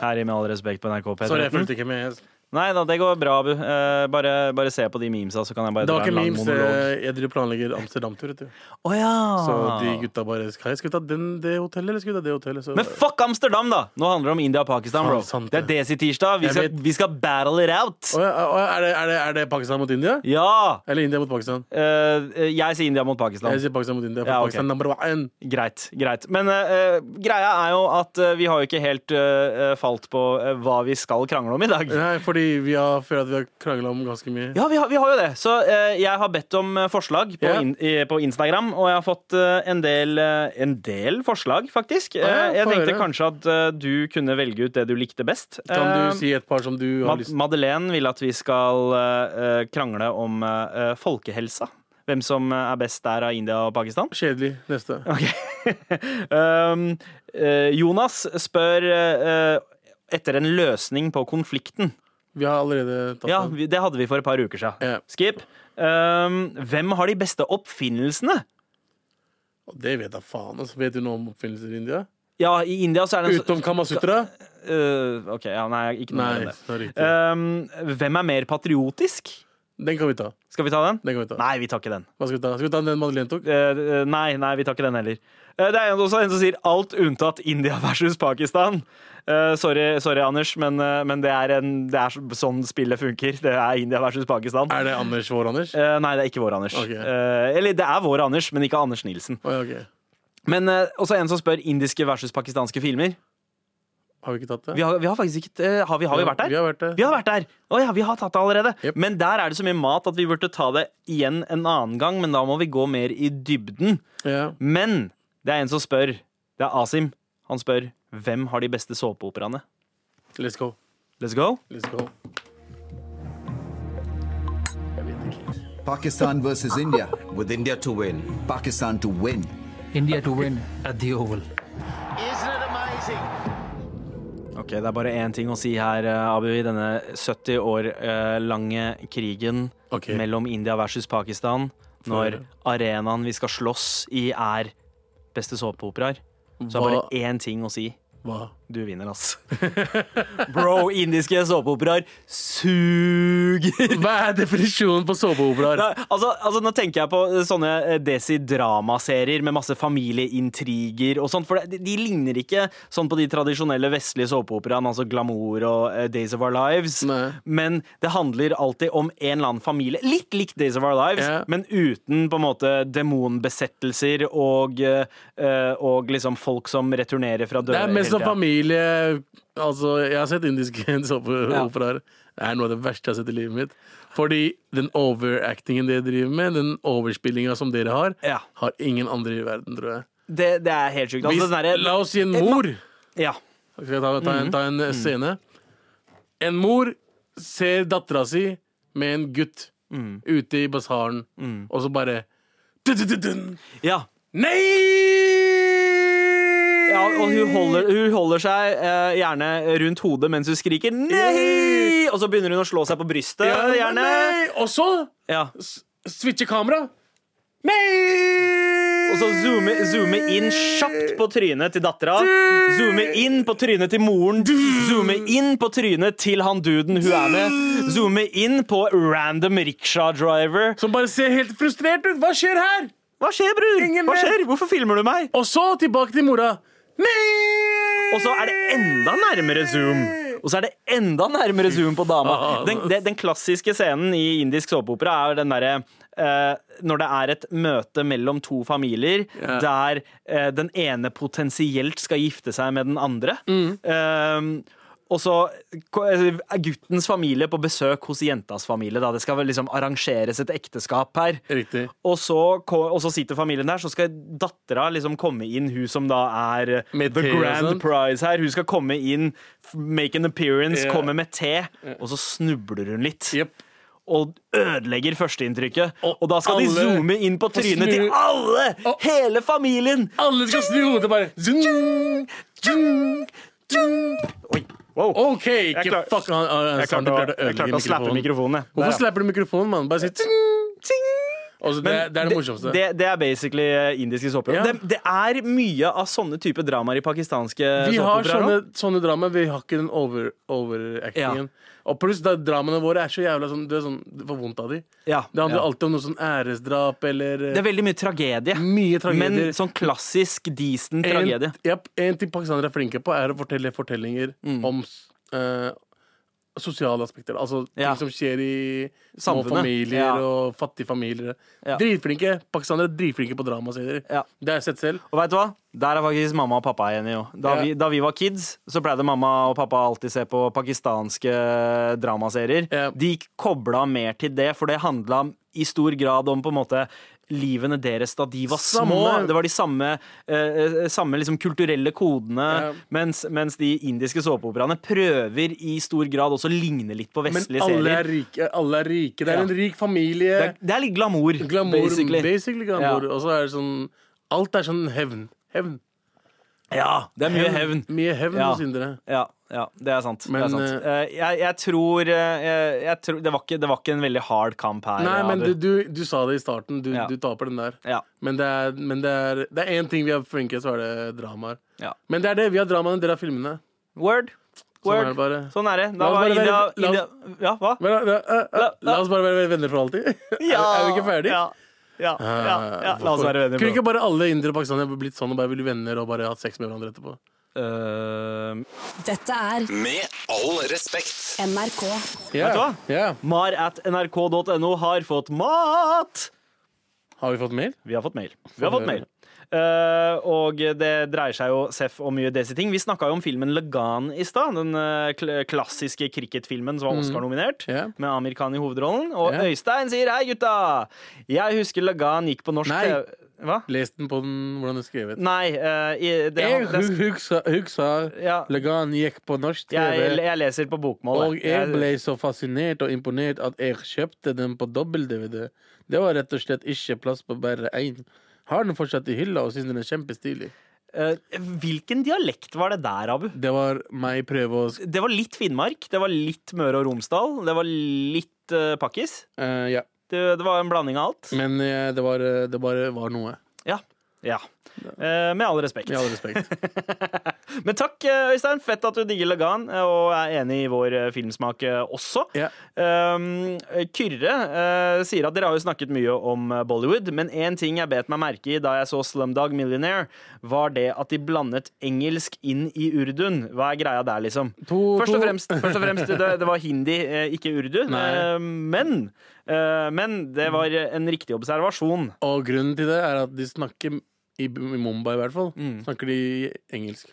C: Her i Med all respekt på NRK
E: Sorry, jeg
C: P13.
E: fulgte ikke med.
C: Nei da, det går bra, Abu. Eh, bare, bare se på de memesa, så kan jeg bare
E: Det
C: dra
E: var
C: en
E: ikke
C: lang
E: memes.
C: monolog. Ah.
E: eh, Jeg driver og planlegger Amsterdam-tur. vet du.
C: Å ja.
E: Så de gutta bare Hei, skal vi ta den, det hotellet, eller skal vi ta det hotellet? Så,
C: Men fuck Amsterdam, da! Nå handler det om India og Pakistan, bro.
E: Faen, sant
C: Det er
E: det.
C: Desi-tirsdag. Vi,
E: Jeg
C: skal-
E: vet-
C: vi skal battle it out!
E: Å ja, å ja, er, det, er, det, er det Pakistan mot India?
C: Ja!
E: Eller India mot Pakistan?
C: Eh, jeg sier India mot Pakistan.
E: Jeg sier Pakistan mot India. For
C: Ja, ok.
E: Pakistan number one.
C: Greit. greit Men eh, eh, greia er jo at eh, vi har jo ikke helt eh, eh, falt på eh, hva vi skal krangle om i dag.
E: Nei, fordi vi har føler at vi har krangla om ganske mye.
C: Ja, vi har, vi har jo det. Så eh, jeg har bedt om eh, forslag på,
E: Ja.
C: in, i, på Instagram, og jeg har fått eh, en, del, eh, en del forslag, faktisk.
E: ja,
C: Eh, jeg
E: få
C: tenkte
E: høre.
C: kanskje at eh, du kunne velge ut det du likte best.
E: Kan
C: Eh,
E: du si et par som du har
C: Ma-
E: lyst til?
C: Madeleine vil at vi skal eh, eh, krangle om eh, eh, folkehelsa. Hvem som eh, er best der av India og Pakistan.
E: Kjedelig. Neste.
C: Ok. um, eh, Jonas spør eh, eh, etter en løsning på konflikten.
E: Vi har allerede tatt
C: Ja,
E: den.
C: vi, det hadde vi for et par uker siden.
E: Ja.
C: Skip. Um, hvem har de beste oppfinnelsene?
E: Og Det vet jeg faen. Altså. Vet du noe om oppfinnelser i India?
C: Ja, i India så er det en så-
E: Utenom Kamasutra?
C: Øh, OK, ja, nei, ikke noe mer enn
E: Nei,
C: det.
E: sorry.
C: Um, hvem er mer patriotisk?
E: Den kan vi ta.
C: Skal vi ta den?
E: Den kan vi ta.
C: Nei, vi tar ikke den.
E: Hva skal vi ta? Skal vi ta den Madeleine tok?
C: Eh, eh, nei, nei, vi tar ikke den heller. Eh, det er en- også en som sier alt unntatt India versus Pakistan. Eh, sorry, sorry, Anders, men, eh, men det, er en, det er så- sånn spillet funker. Det er India versus Pakistan.
E: Er det Anders vår, Anders?
C: Eh, nei, det er ikke vår Anders.
E: Ok.
C: Eh, eller det er vår Anders, men ikke Anders Nilsen.
E: Å, ja, ok.
C: Men eh, også en som spør indiske versus pakistanske filmer.
E: Har vi ikke tatt det?
C: Vi har, vi har faktisk ikke eh, Har vi, har vi vært der?
E: Vi har vært der.
C: Vi har vært der! Å ja, vi har tatt det allerede.
E: Jep.
C: Men der er det så mye mat at vi burde ta det igjen en annen gang, men da må vi gå mer i dybden.
E: Ja.
C: Men det er en som spør. Det er Asim. Han spør hvem har de beste såpeoperaene.
E: Let's go.
C: Let's go.
E: Let's go. Jeg vet ikke.
F: Pakistan versus India.
A: With India to win.
F: Pakistan to win.
G: India to win at the Oval.
C: Ok, Det er bare én ting å si her, eh, Abu, i denne 70 år eh, lange krigen
E: Ok.
C: mellom India versus Pakistan, når
E: høre.
C: arenaen vi skal slåss i, er beste såpeoperaer. Så er det bare
E: Hva-
C: én ting å si.
E: Hva?
C: Du vinner, ass. Bro, indiske såpeoperaer suger!
E: Hva er definisjonen på såpeoperaer?
C: Nei, Altså, altså, nå tenker jeg på eh, sånne eh, desi-dramaserier med masse familieintriger og sånt, for det- de, de ligner ikke sånn på de tradisjonelle vestlige såpeoperaene, altså Glamour og eh, Days of Our Lives,
E: Nei.
C: men det handler alltid om en eller annen familie, litt likt Days of Our Lives,
E: Ja.
C: men uten på en måte demonbesettelser og, eh, eh, og liksom folk som returnerer fra
E: Det
C: døde
E: er mest
C: hele
E: sånn
C: tiden.
E: familie Altså, jeg har sett indiske såpeoperaer. Det er noe av det verste jeg har sett i livet mitt. Fordi den overactingen dere driver med, den overspillinga som dere har,
C: Ja.
E: har ingen andre i verden, tror jeg.
C: Det, det er helt sjukt. Altså,
E: Hvis,
C: den derre- Mhm.
E: la oss si en mor.
C: ja.
E: Skal jeg ta, ta, en, ta en eh, scene? En mor ser dattera si med en gutt
C: Mhm.
E: ute i basaren, og så bare dun-dun-dun-dun.
C: ja.
E: Nei!
C: Ja, og hun holder, hun holder seg eh, gjerne rundt hodet mens hun skriker 'nei!' Og så begynner hun å slå seg på brystet.
E: Ja,
C: gjerne.
E: nei! Og så
C: Ja.
E: s- switcher kamera. Nei!
C: Og så zoome, zoome inn kjapt på trynet til dattera. Zoome inn på trynet til moren. Zoome inn på trynet til han duden hun er med. Zoome inn på random rickshaw-driver.
E: Som bare ser helt frustrert ut. Hva skjer her?
C: Hva skjer, bror?
E: Ingen
C: Hva
E: vet.
C: skjer? Hvorfor filmer du meg?
E: Og så tilbake til mora. Nei!
C: Og så er det enda nærmere zoom. Og så er det enda nærmere zoom på dama. Den, den, den klassiske scenen i indisk såpeopera er den derre eh, Når det er et møte mellom to familier der eh, den ene potensielt skal gifte seg med den andre.
E: Mm.
C: Eh, og så ko- er guttens familie på besøk hos jentas familie. Da. Det skal vel liksom arrangeres et ekteskap her.
E: Riktig.
C: Og så, ko- og så sitter familien der, så skal dattera liksom komme inn, hun som da er
E: Med
C: the
E: te og
C: grand
E: sånn.
C: prize her. Hun skal komme inn, f- make an appearance,
E: Ja.
C: komme med te, og så snubler hun litt.
E: Jepp.
C: Og ødelegger førsteinntrykket.
E: Og
C: Og, da skal de
E: alle
C: zoome inn på
E: får
C: trynet
E: snu-
C: til alle!
E: Og-
C: hele familien!
E: Alle skal snu hodet bare Zung, zung, zung.
C: Wow.
E: OK, ikke
C: klar-
E: fuck han, han, han,
C: jeg klarte,
E: du
C: å,
E: klarte å
C: jeg
E: ødelegge
C: klarte å slappe mikrofonen. jeg. Der,
E: Hvorfor
C: ja.
E: slapper du mikrofonen, mann? Bare si zung, zung. Altså, det,
C: Men
E: det er det morsomste.
C: Det, det er basically eh, indiske såper.
E: Ja.
C: Det, det er mye av sånne typer dramaer i pakistanske
E: vi har
C: såpeoperaer
E: sånne,
C: nå.
E: sånne drama, vi har ikke den over, overactingen. Og pluss da, dramaene våre er så jævla sånn Du er sånn, du får vondt av de
C: Ja.
E: Det handler
C: Ja.
E: alltid om noe sånn æresdrap eller eh,
C: Det er veldig mye tragedie.
E: Mye tragedier.
C: Men sånn klassisk decent tragedie.
E: En, japp, en ting pakistanere er flinke på, er å fortelle fortellinger
C: Mm.
E: om eh, sosiale aspekter. Altså
C: Ja.
E: ting som skjer i små
C: Samfunnet.
E: familier
C: Ja.
E: og fattige familier.
C: Ja.
E: Dritflinke. Pakistanere er dritflinke på dramaserier.
C: Ja.
E: Det har jeg sett selv.
C: Og vet du hva? Der er faktisk mamma og pappa igjen. jo Da,
E: Ja.
C: vi, da vi var kids, så pleide mamma og pappa alltid se på pakistanske dramaserier.
E: Ja.
C: De kobla mer til det, for det handla i stor grad om på en måte livene deres da de var
E: Samme.
C: små. Det var de samme, eh, eh, samme liksom kulturelle kodene.
E: Ja.
C: Mens, mens de indiske såpeoperaene prøver i stor grad også å ligne litt på
E: Men
C: vestlige
E: alle er
C: serier.
E: rike. Alle er rike. Det er
C: Ja.
E: en rik familie.
C: Det er, det er litt glamour,
E: glamour, basically.
C: basically.
E: glamour.
C: Ja.
E: Og så er det sånn Alt er sånn hevn. Hevn.
C: Ja, det er mye hevn.
E: Mye hevn
C: Ja.
E: hos indere.
C: Ja, ja, det er sant. det
E: Men,
C: er sant. Eh, jeg, jeg tror, eh, jeg, jeg tror det, var ikke, det var ikke en veldig hard kamp her.
E: Nei, men
C: Abu.
E: du, du, du sa det i starten. Du,
C: Ja.
E: du taper den der.
C: Ja.
E: Men det er Men det er, det er én ting vi er flinke til, så er det dramaer.
C: Ja.
E: Men det er det. Vi har dramaene, dere har filmene.
C: Word.
E: Sånn
C: Word.
E: er det bare.
C: Sånn er det. Da
E: La oss
C: var
E: bare
C: India,
E: være- la
C: India
E: oss-
C: Ja, hva?
E: Men, eh, eh, eh,
C: La-
E: la oss bare være venner for alltid. er, er vi ikke ferdig? Ah,
C: Ja. Ja, ja, ja. La oss
E: Hvorfor-
C: være venner.
E: Kunne
C: bro.
E: ikke bare alle indere og pakistanere blitt sånn og bare ville venner og bare hatt sex med hverandre etterpå?
C: Eh,
D: Dette er
A: Med all respekt.
D: NRK.
E: Yeah.
C: Vet Mar at nrk.no har fått mat!
E: Har vi fått mail?
C: Vi har fått mail. Vi har fått mail. Eh, og det dreier seg jo seff om mye desi ting. Vi snakka jo om filmen Legan i stad. Den eh, kl klassiske cricketfilmen som var Oscar-nominert,
E: Mm. Ja.
C: med Amir Khan i hovedrollen. Og
E: Ja.
C: Øystein sier 'hei, gutta'! Jeg husker Legan gikk på norsk
E: Nei.
C: TV Hva?
E: Les den på den, hvordan den er skrevet.
C: Nei, eh, i, det,
E: Jeg
C: det,
E: hu- husker, husker
C: Ja.
E: Legan gikk på norsk
C: jeg,
E: TV,
C: jeg leser på bokmål.
E: og jeg
C: Jeg-
E: ble så fascinert og imponert at jeg kjøpte den på dobbel-DVD. Det var rett og slett ikke plass på bare én. Har den fortsatt i hylla og syns den er kjempestilig.
C: eh, hvilken dialekt var det der, Abu?
E: Det var meg prøve å sk-
C: Det var litt Finnmark, det var litt Møre og Romsdal, det var litt eh, pakkis.
E: eh, Ja.
C: Det, det var en blanding av alt.
E: Men eh, det, var, eh, det bare var noe.
C: Ja. ja. Eh, med all respekt.
E: Med all respekt.
C: Men takk, eh, Øystein. Fett at du digger Lagan eh, og er enig i vår eh, filmsmak eh, også.
E: Ja.
C: Um, Kyrre eh, sier at dere har jo snakket mye om eh, Bollywood, men én ting jeg bet meg merke i da jeg så Slumdog Millionaire, var det at de blandet engelsk inn i urdun. Hva er greia der, liksom?
E: To-
C: først, og
E: to-
C: fremst, først og fremst, det, det var hindi, eh, ikke urdu.
E: Nei.
C: Eh, men, eh, men det var en riktig observasjon.
E: Og grunnen til det er at de snakker i, i Mumbai i hvert fall
C: Mm.
E: Snakker de engelsk.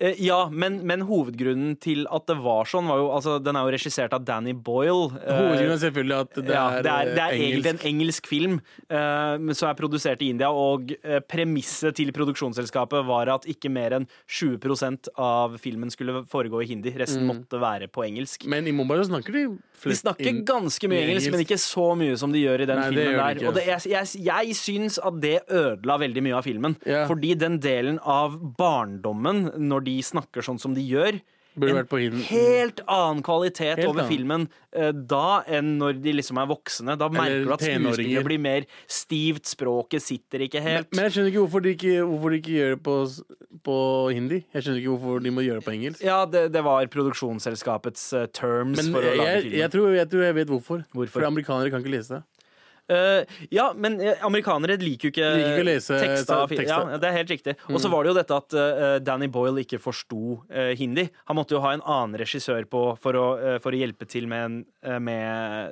C: Eh, Ja, men, men hovedgrunnen til at det var sånn, var jo altså, Den er jo regissert av Danny Boyle. eh,
E: Hovedgrunnen er selvfølgelig at det,
C: ja,
E: er,
C: det er, det er
E: eh, engelsk.
C: egentlig en engelsk film eh, men som er produsert i India. Og eh, premisset til produksjonsselskapet var at ikke mer enn 20 av filmen skulle foregå i hindi. Resten
E: Mm.
C: måtte være på engelsk.
E: Men i Mumbai så snakker de
C: De
E: flest
C: snakker
E: inn-
C: ganske mye
E: i
C: engelsk, men ikke så mye som de gjør i den
E: Nei, det
C: filmen
E: gjør
C: der.
E: de ikke.
C: Og det, jeg, jeg, jeg syns at det ødela veldig mye av filmen.
E: Ja.
C: Fordi den delen av barndommen, når de snakker sånn som de gjør,
E: Burde vært på hin-
C: helt annen kvalitet
E: Helt
C: over
E: annen.
C: filmen eh, da enn når de liksom er voksne. Da merker du at
E: tenåringer.
C: skuespillet blir mer stivt, språket sitter ikke helt.
E: Men jeg skjønner ikke hvorfor de ikke, hvorfor de ikke gjør det på, s- på hindi. Jeg skjønner ikke hvorfor de må gjøre det på engelsk.
C: ja, det, det var produksjonsselskapets eh, terms
E: Men
C: for å
E: jeg,
C: lage
E: jeg,
C: filmen.
E: tror, jeg tror jeg vet hvorfor.
C: Hvorfor?
E: For amerikanere kan ikke lese det.
C: Eh, ja, men eh, amerikanere liker jo ikke,
E: Liker ikke å lese
C: teksta. av fil-
E: teksta.
C: Ja, det er helt riktig. Og
E: Mm.
C: så var det jo dette at eh, Danny Boyle ikke forsto eh, hindi. Han måtte jo ha en annen regissør på for å, eh, for å hjelpe til med, en, eh, med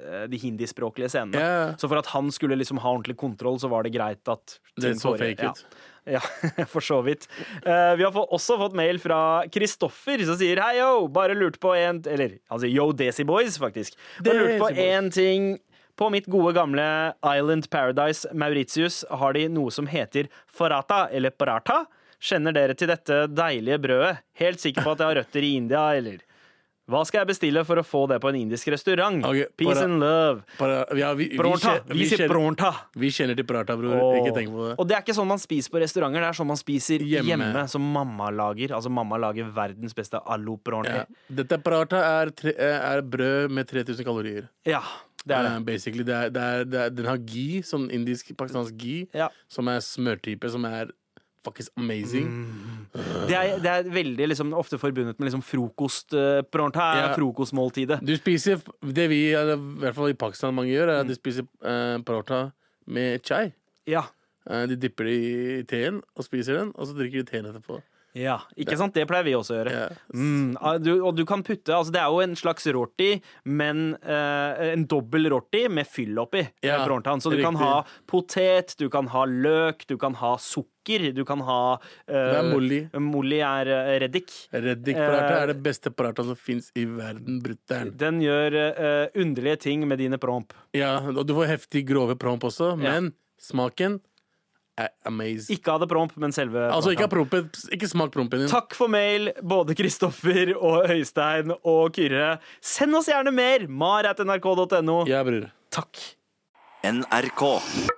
C: eh, de hindispråklige scenene.
E: Ja.
C: Så for at han skulle liksom ha ordentlig kontroll, så var det greit at
E: Det
C: ting
E: så
C: fore-
E: fake ut.
C: Ja, ja for så vidt. Eh, vi har få, også fått mail fra Kristoffer, som sier hei, yo, bare lurte på en Eller han sier yo, Desi Boys, faktisk. Bare lurte på
E: Desi Boys.
C: én ting. På mitt gode gamle Island Paradise Mauritius har de noe som heter farata, eller paratha. Kjenner dere til dette deilige brødet? Helt sikker på at jeg har røtter i India, eller? Hva skal jeg bestille for å få det på en indisk restaurant?
E: Ok,
C: Peace
E: para-
C: and love.
E: Para, ja, vi, vi,
C: Pronta.
E: kje-
C: Vi
E: vi,
C: sier
E: kjenner,
C: pronta.
E: vi kjenner til Prata, bror. Ikke tenk på det.
C: Og det er ikke sånn man spiser på restauranter, det er sånn man spiser hjemme.
E: Hjemme.
C: som mamma lager. Altså mamma lager verdens beste alu
E: Ja.
C: pronta.
E: Dette Prata er, tre, er brød med 3000 kalorier.
C: Ja. det er det.
E: Eh, basically, det er, det er, det er, den har ghee, sånn indisk, pakistansk ghee,
C: Ja.
E: som er smørtype, som er fuckings amazing.
C: Det er, det er veldig liksom, ofte forbundet med liksom, frokost. eh, pronta er
E: Ja.
C: frokostmåltidet.
E: Du spiser, det vi, eller, i hvert fall i Pakistan mange gjør, er at
C: Mm.
E: de spiser eh, paratha med chai.
C: Ja.
E: Eh, de dipper det i teen og spiser den, og så drikker de teen etterpå.
C: Ja, ikke sant? Det pleier vi også å gjøre.
E: Ja.
C: Mm, ah, du, og du kan putte altså Det er jo en slags rorti, men eh, en dobbel rorti med fyll oppi.
E: Ja,
C: eh, prontaen. Så du kan
E: riktig.
C: ha potet, du kan ha løk, du kan ha sukker, du kan ha eh,
E: er molli?
C: Molli er eh, reddik.
E: Reddik
C: Eh,
E: paratha er det beste paratha som fins i verden, brutter'n.
C: Den gjør eh, underlige ting med dine promp.
E: Ja, og du får heftig grove promp også, men smaken er amazing.
C: Ikke av det promp, men selve
E: altså, ikke,
C: prontaen.
E: ha prompen, ikke smak prompen din.
C: Takk for mail, både Kristoffer og Øystein og Kyrre. Send oss gjerne mer! mar.nrk.no.
E: Ja, bror.
C: Takk.
A: NRK.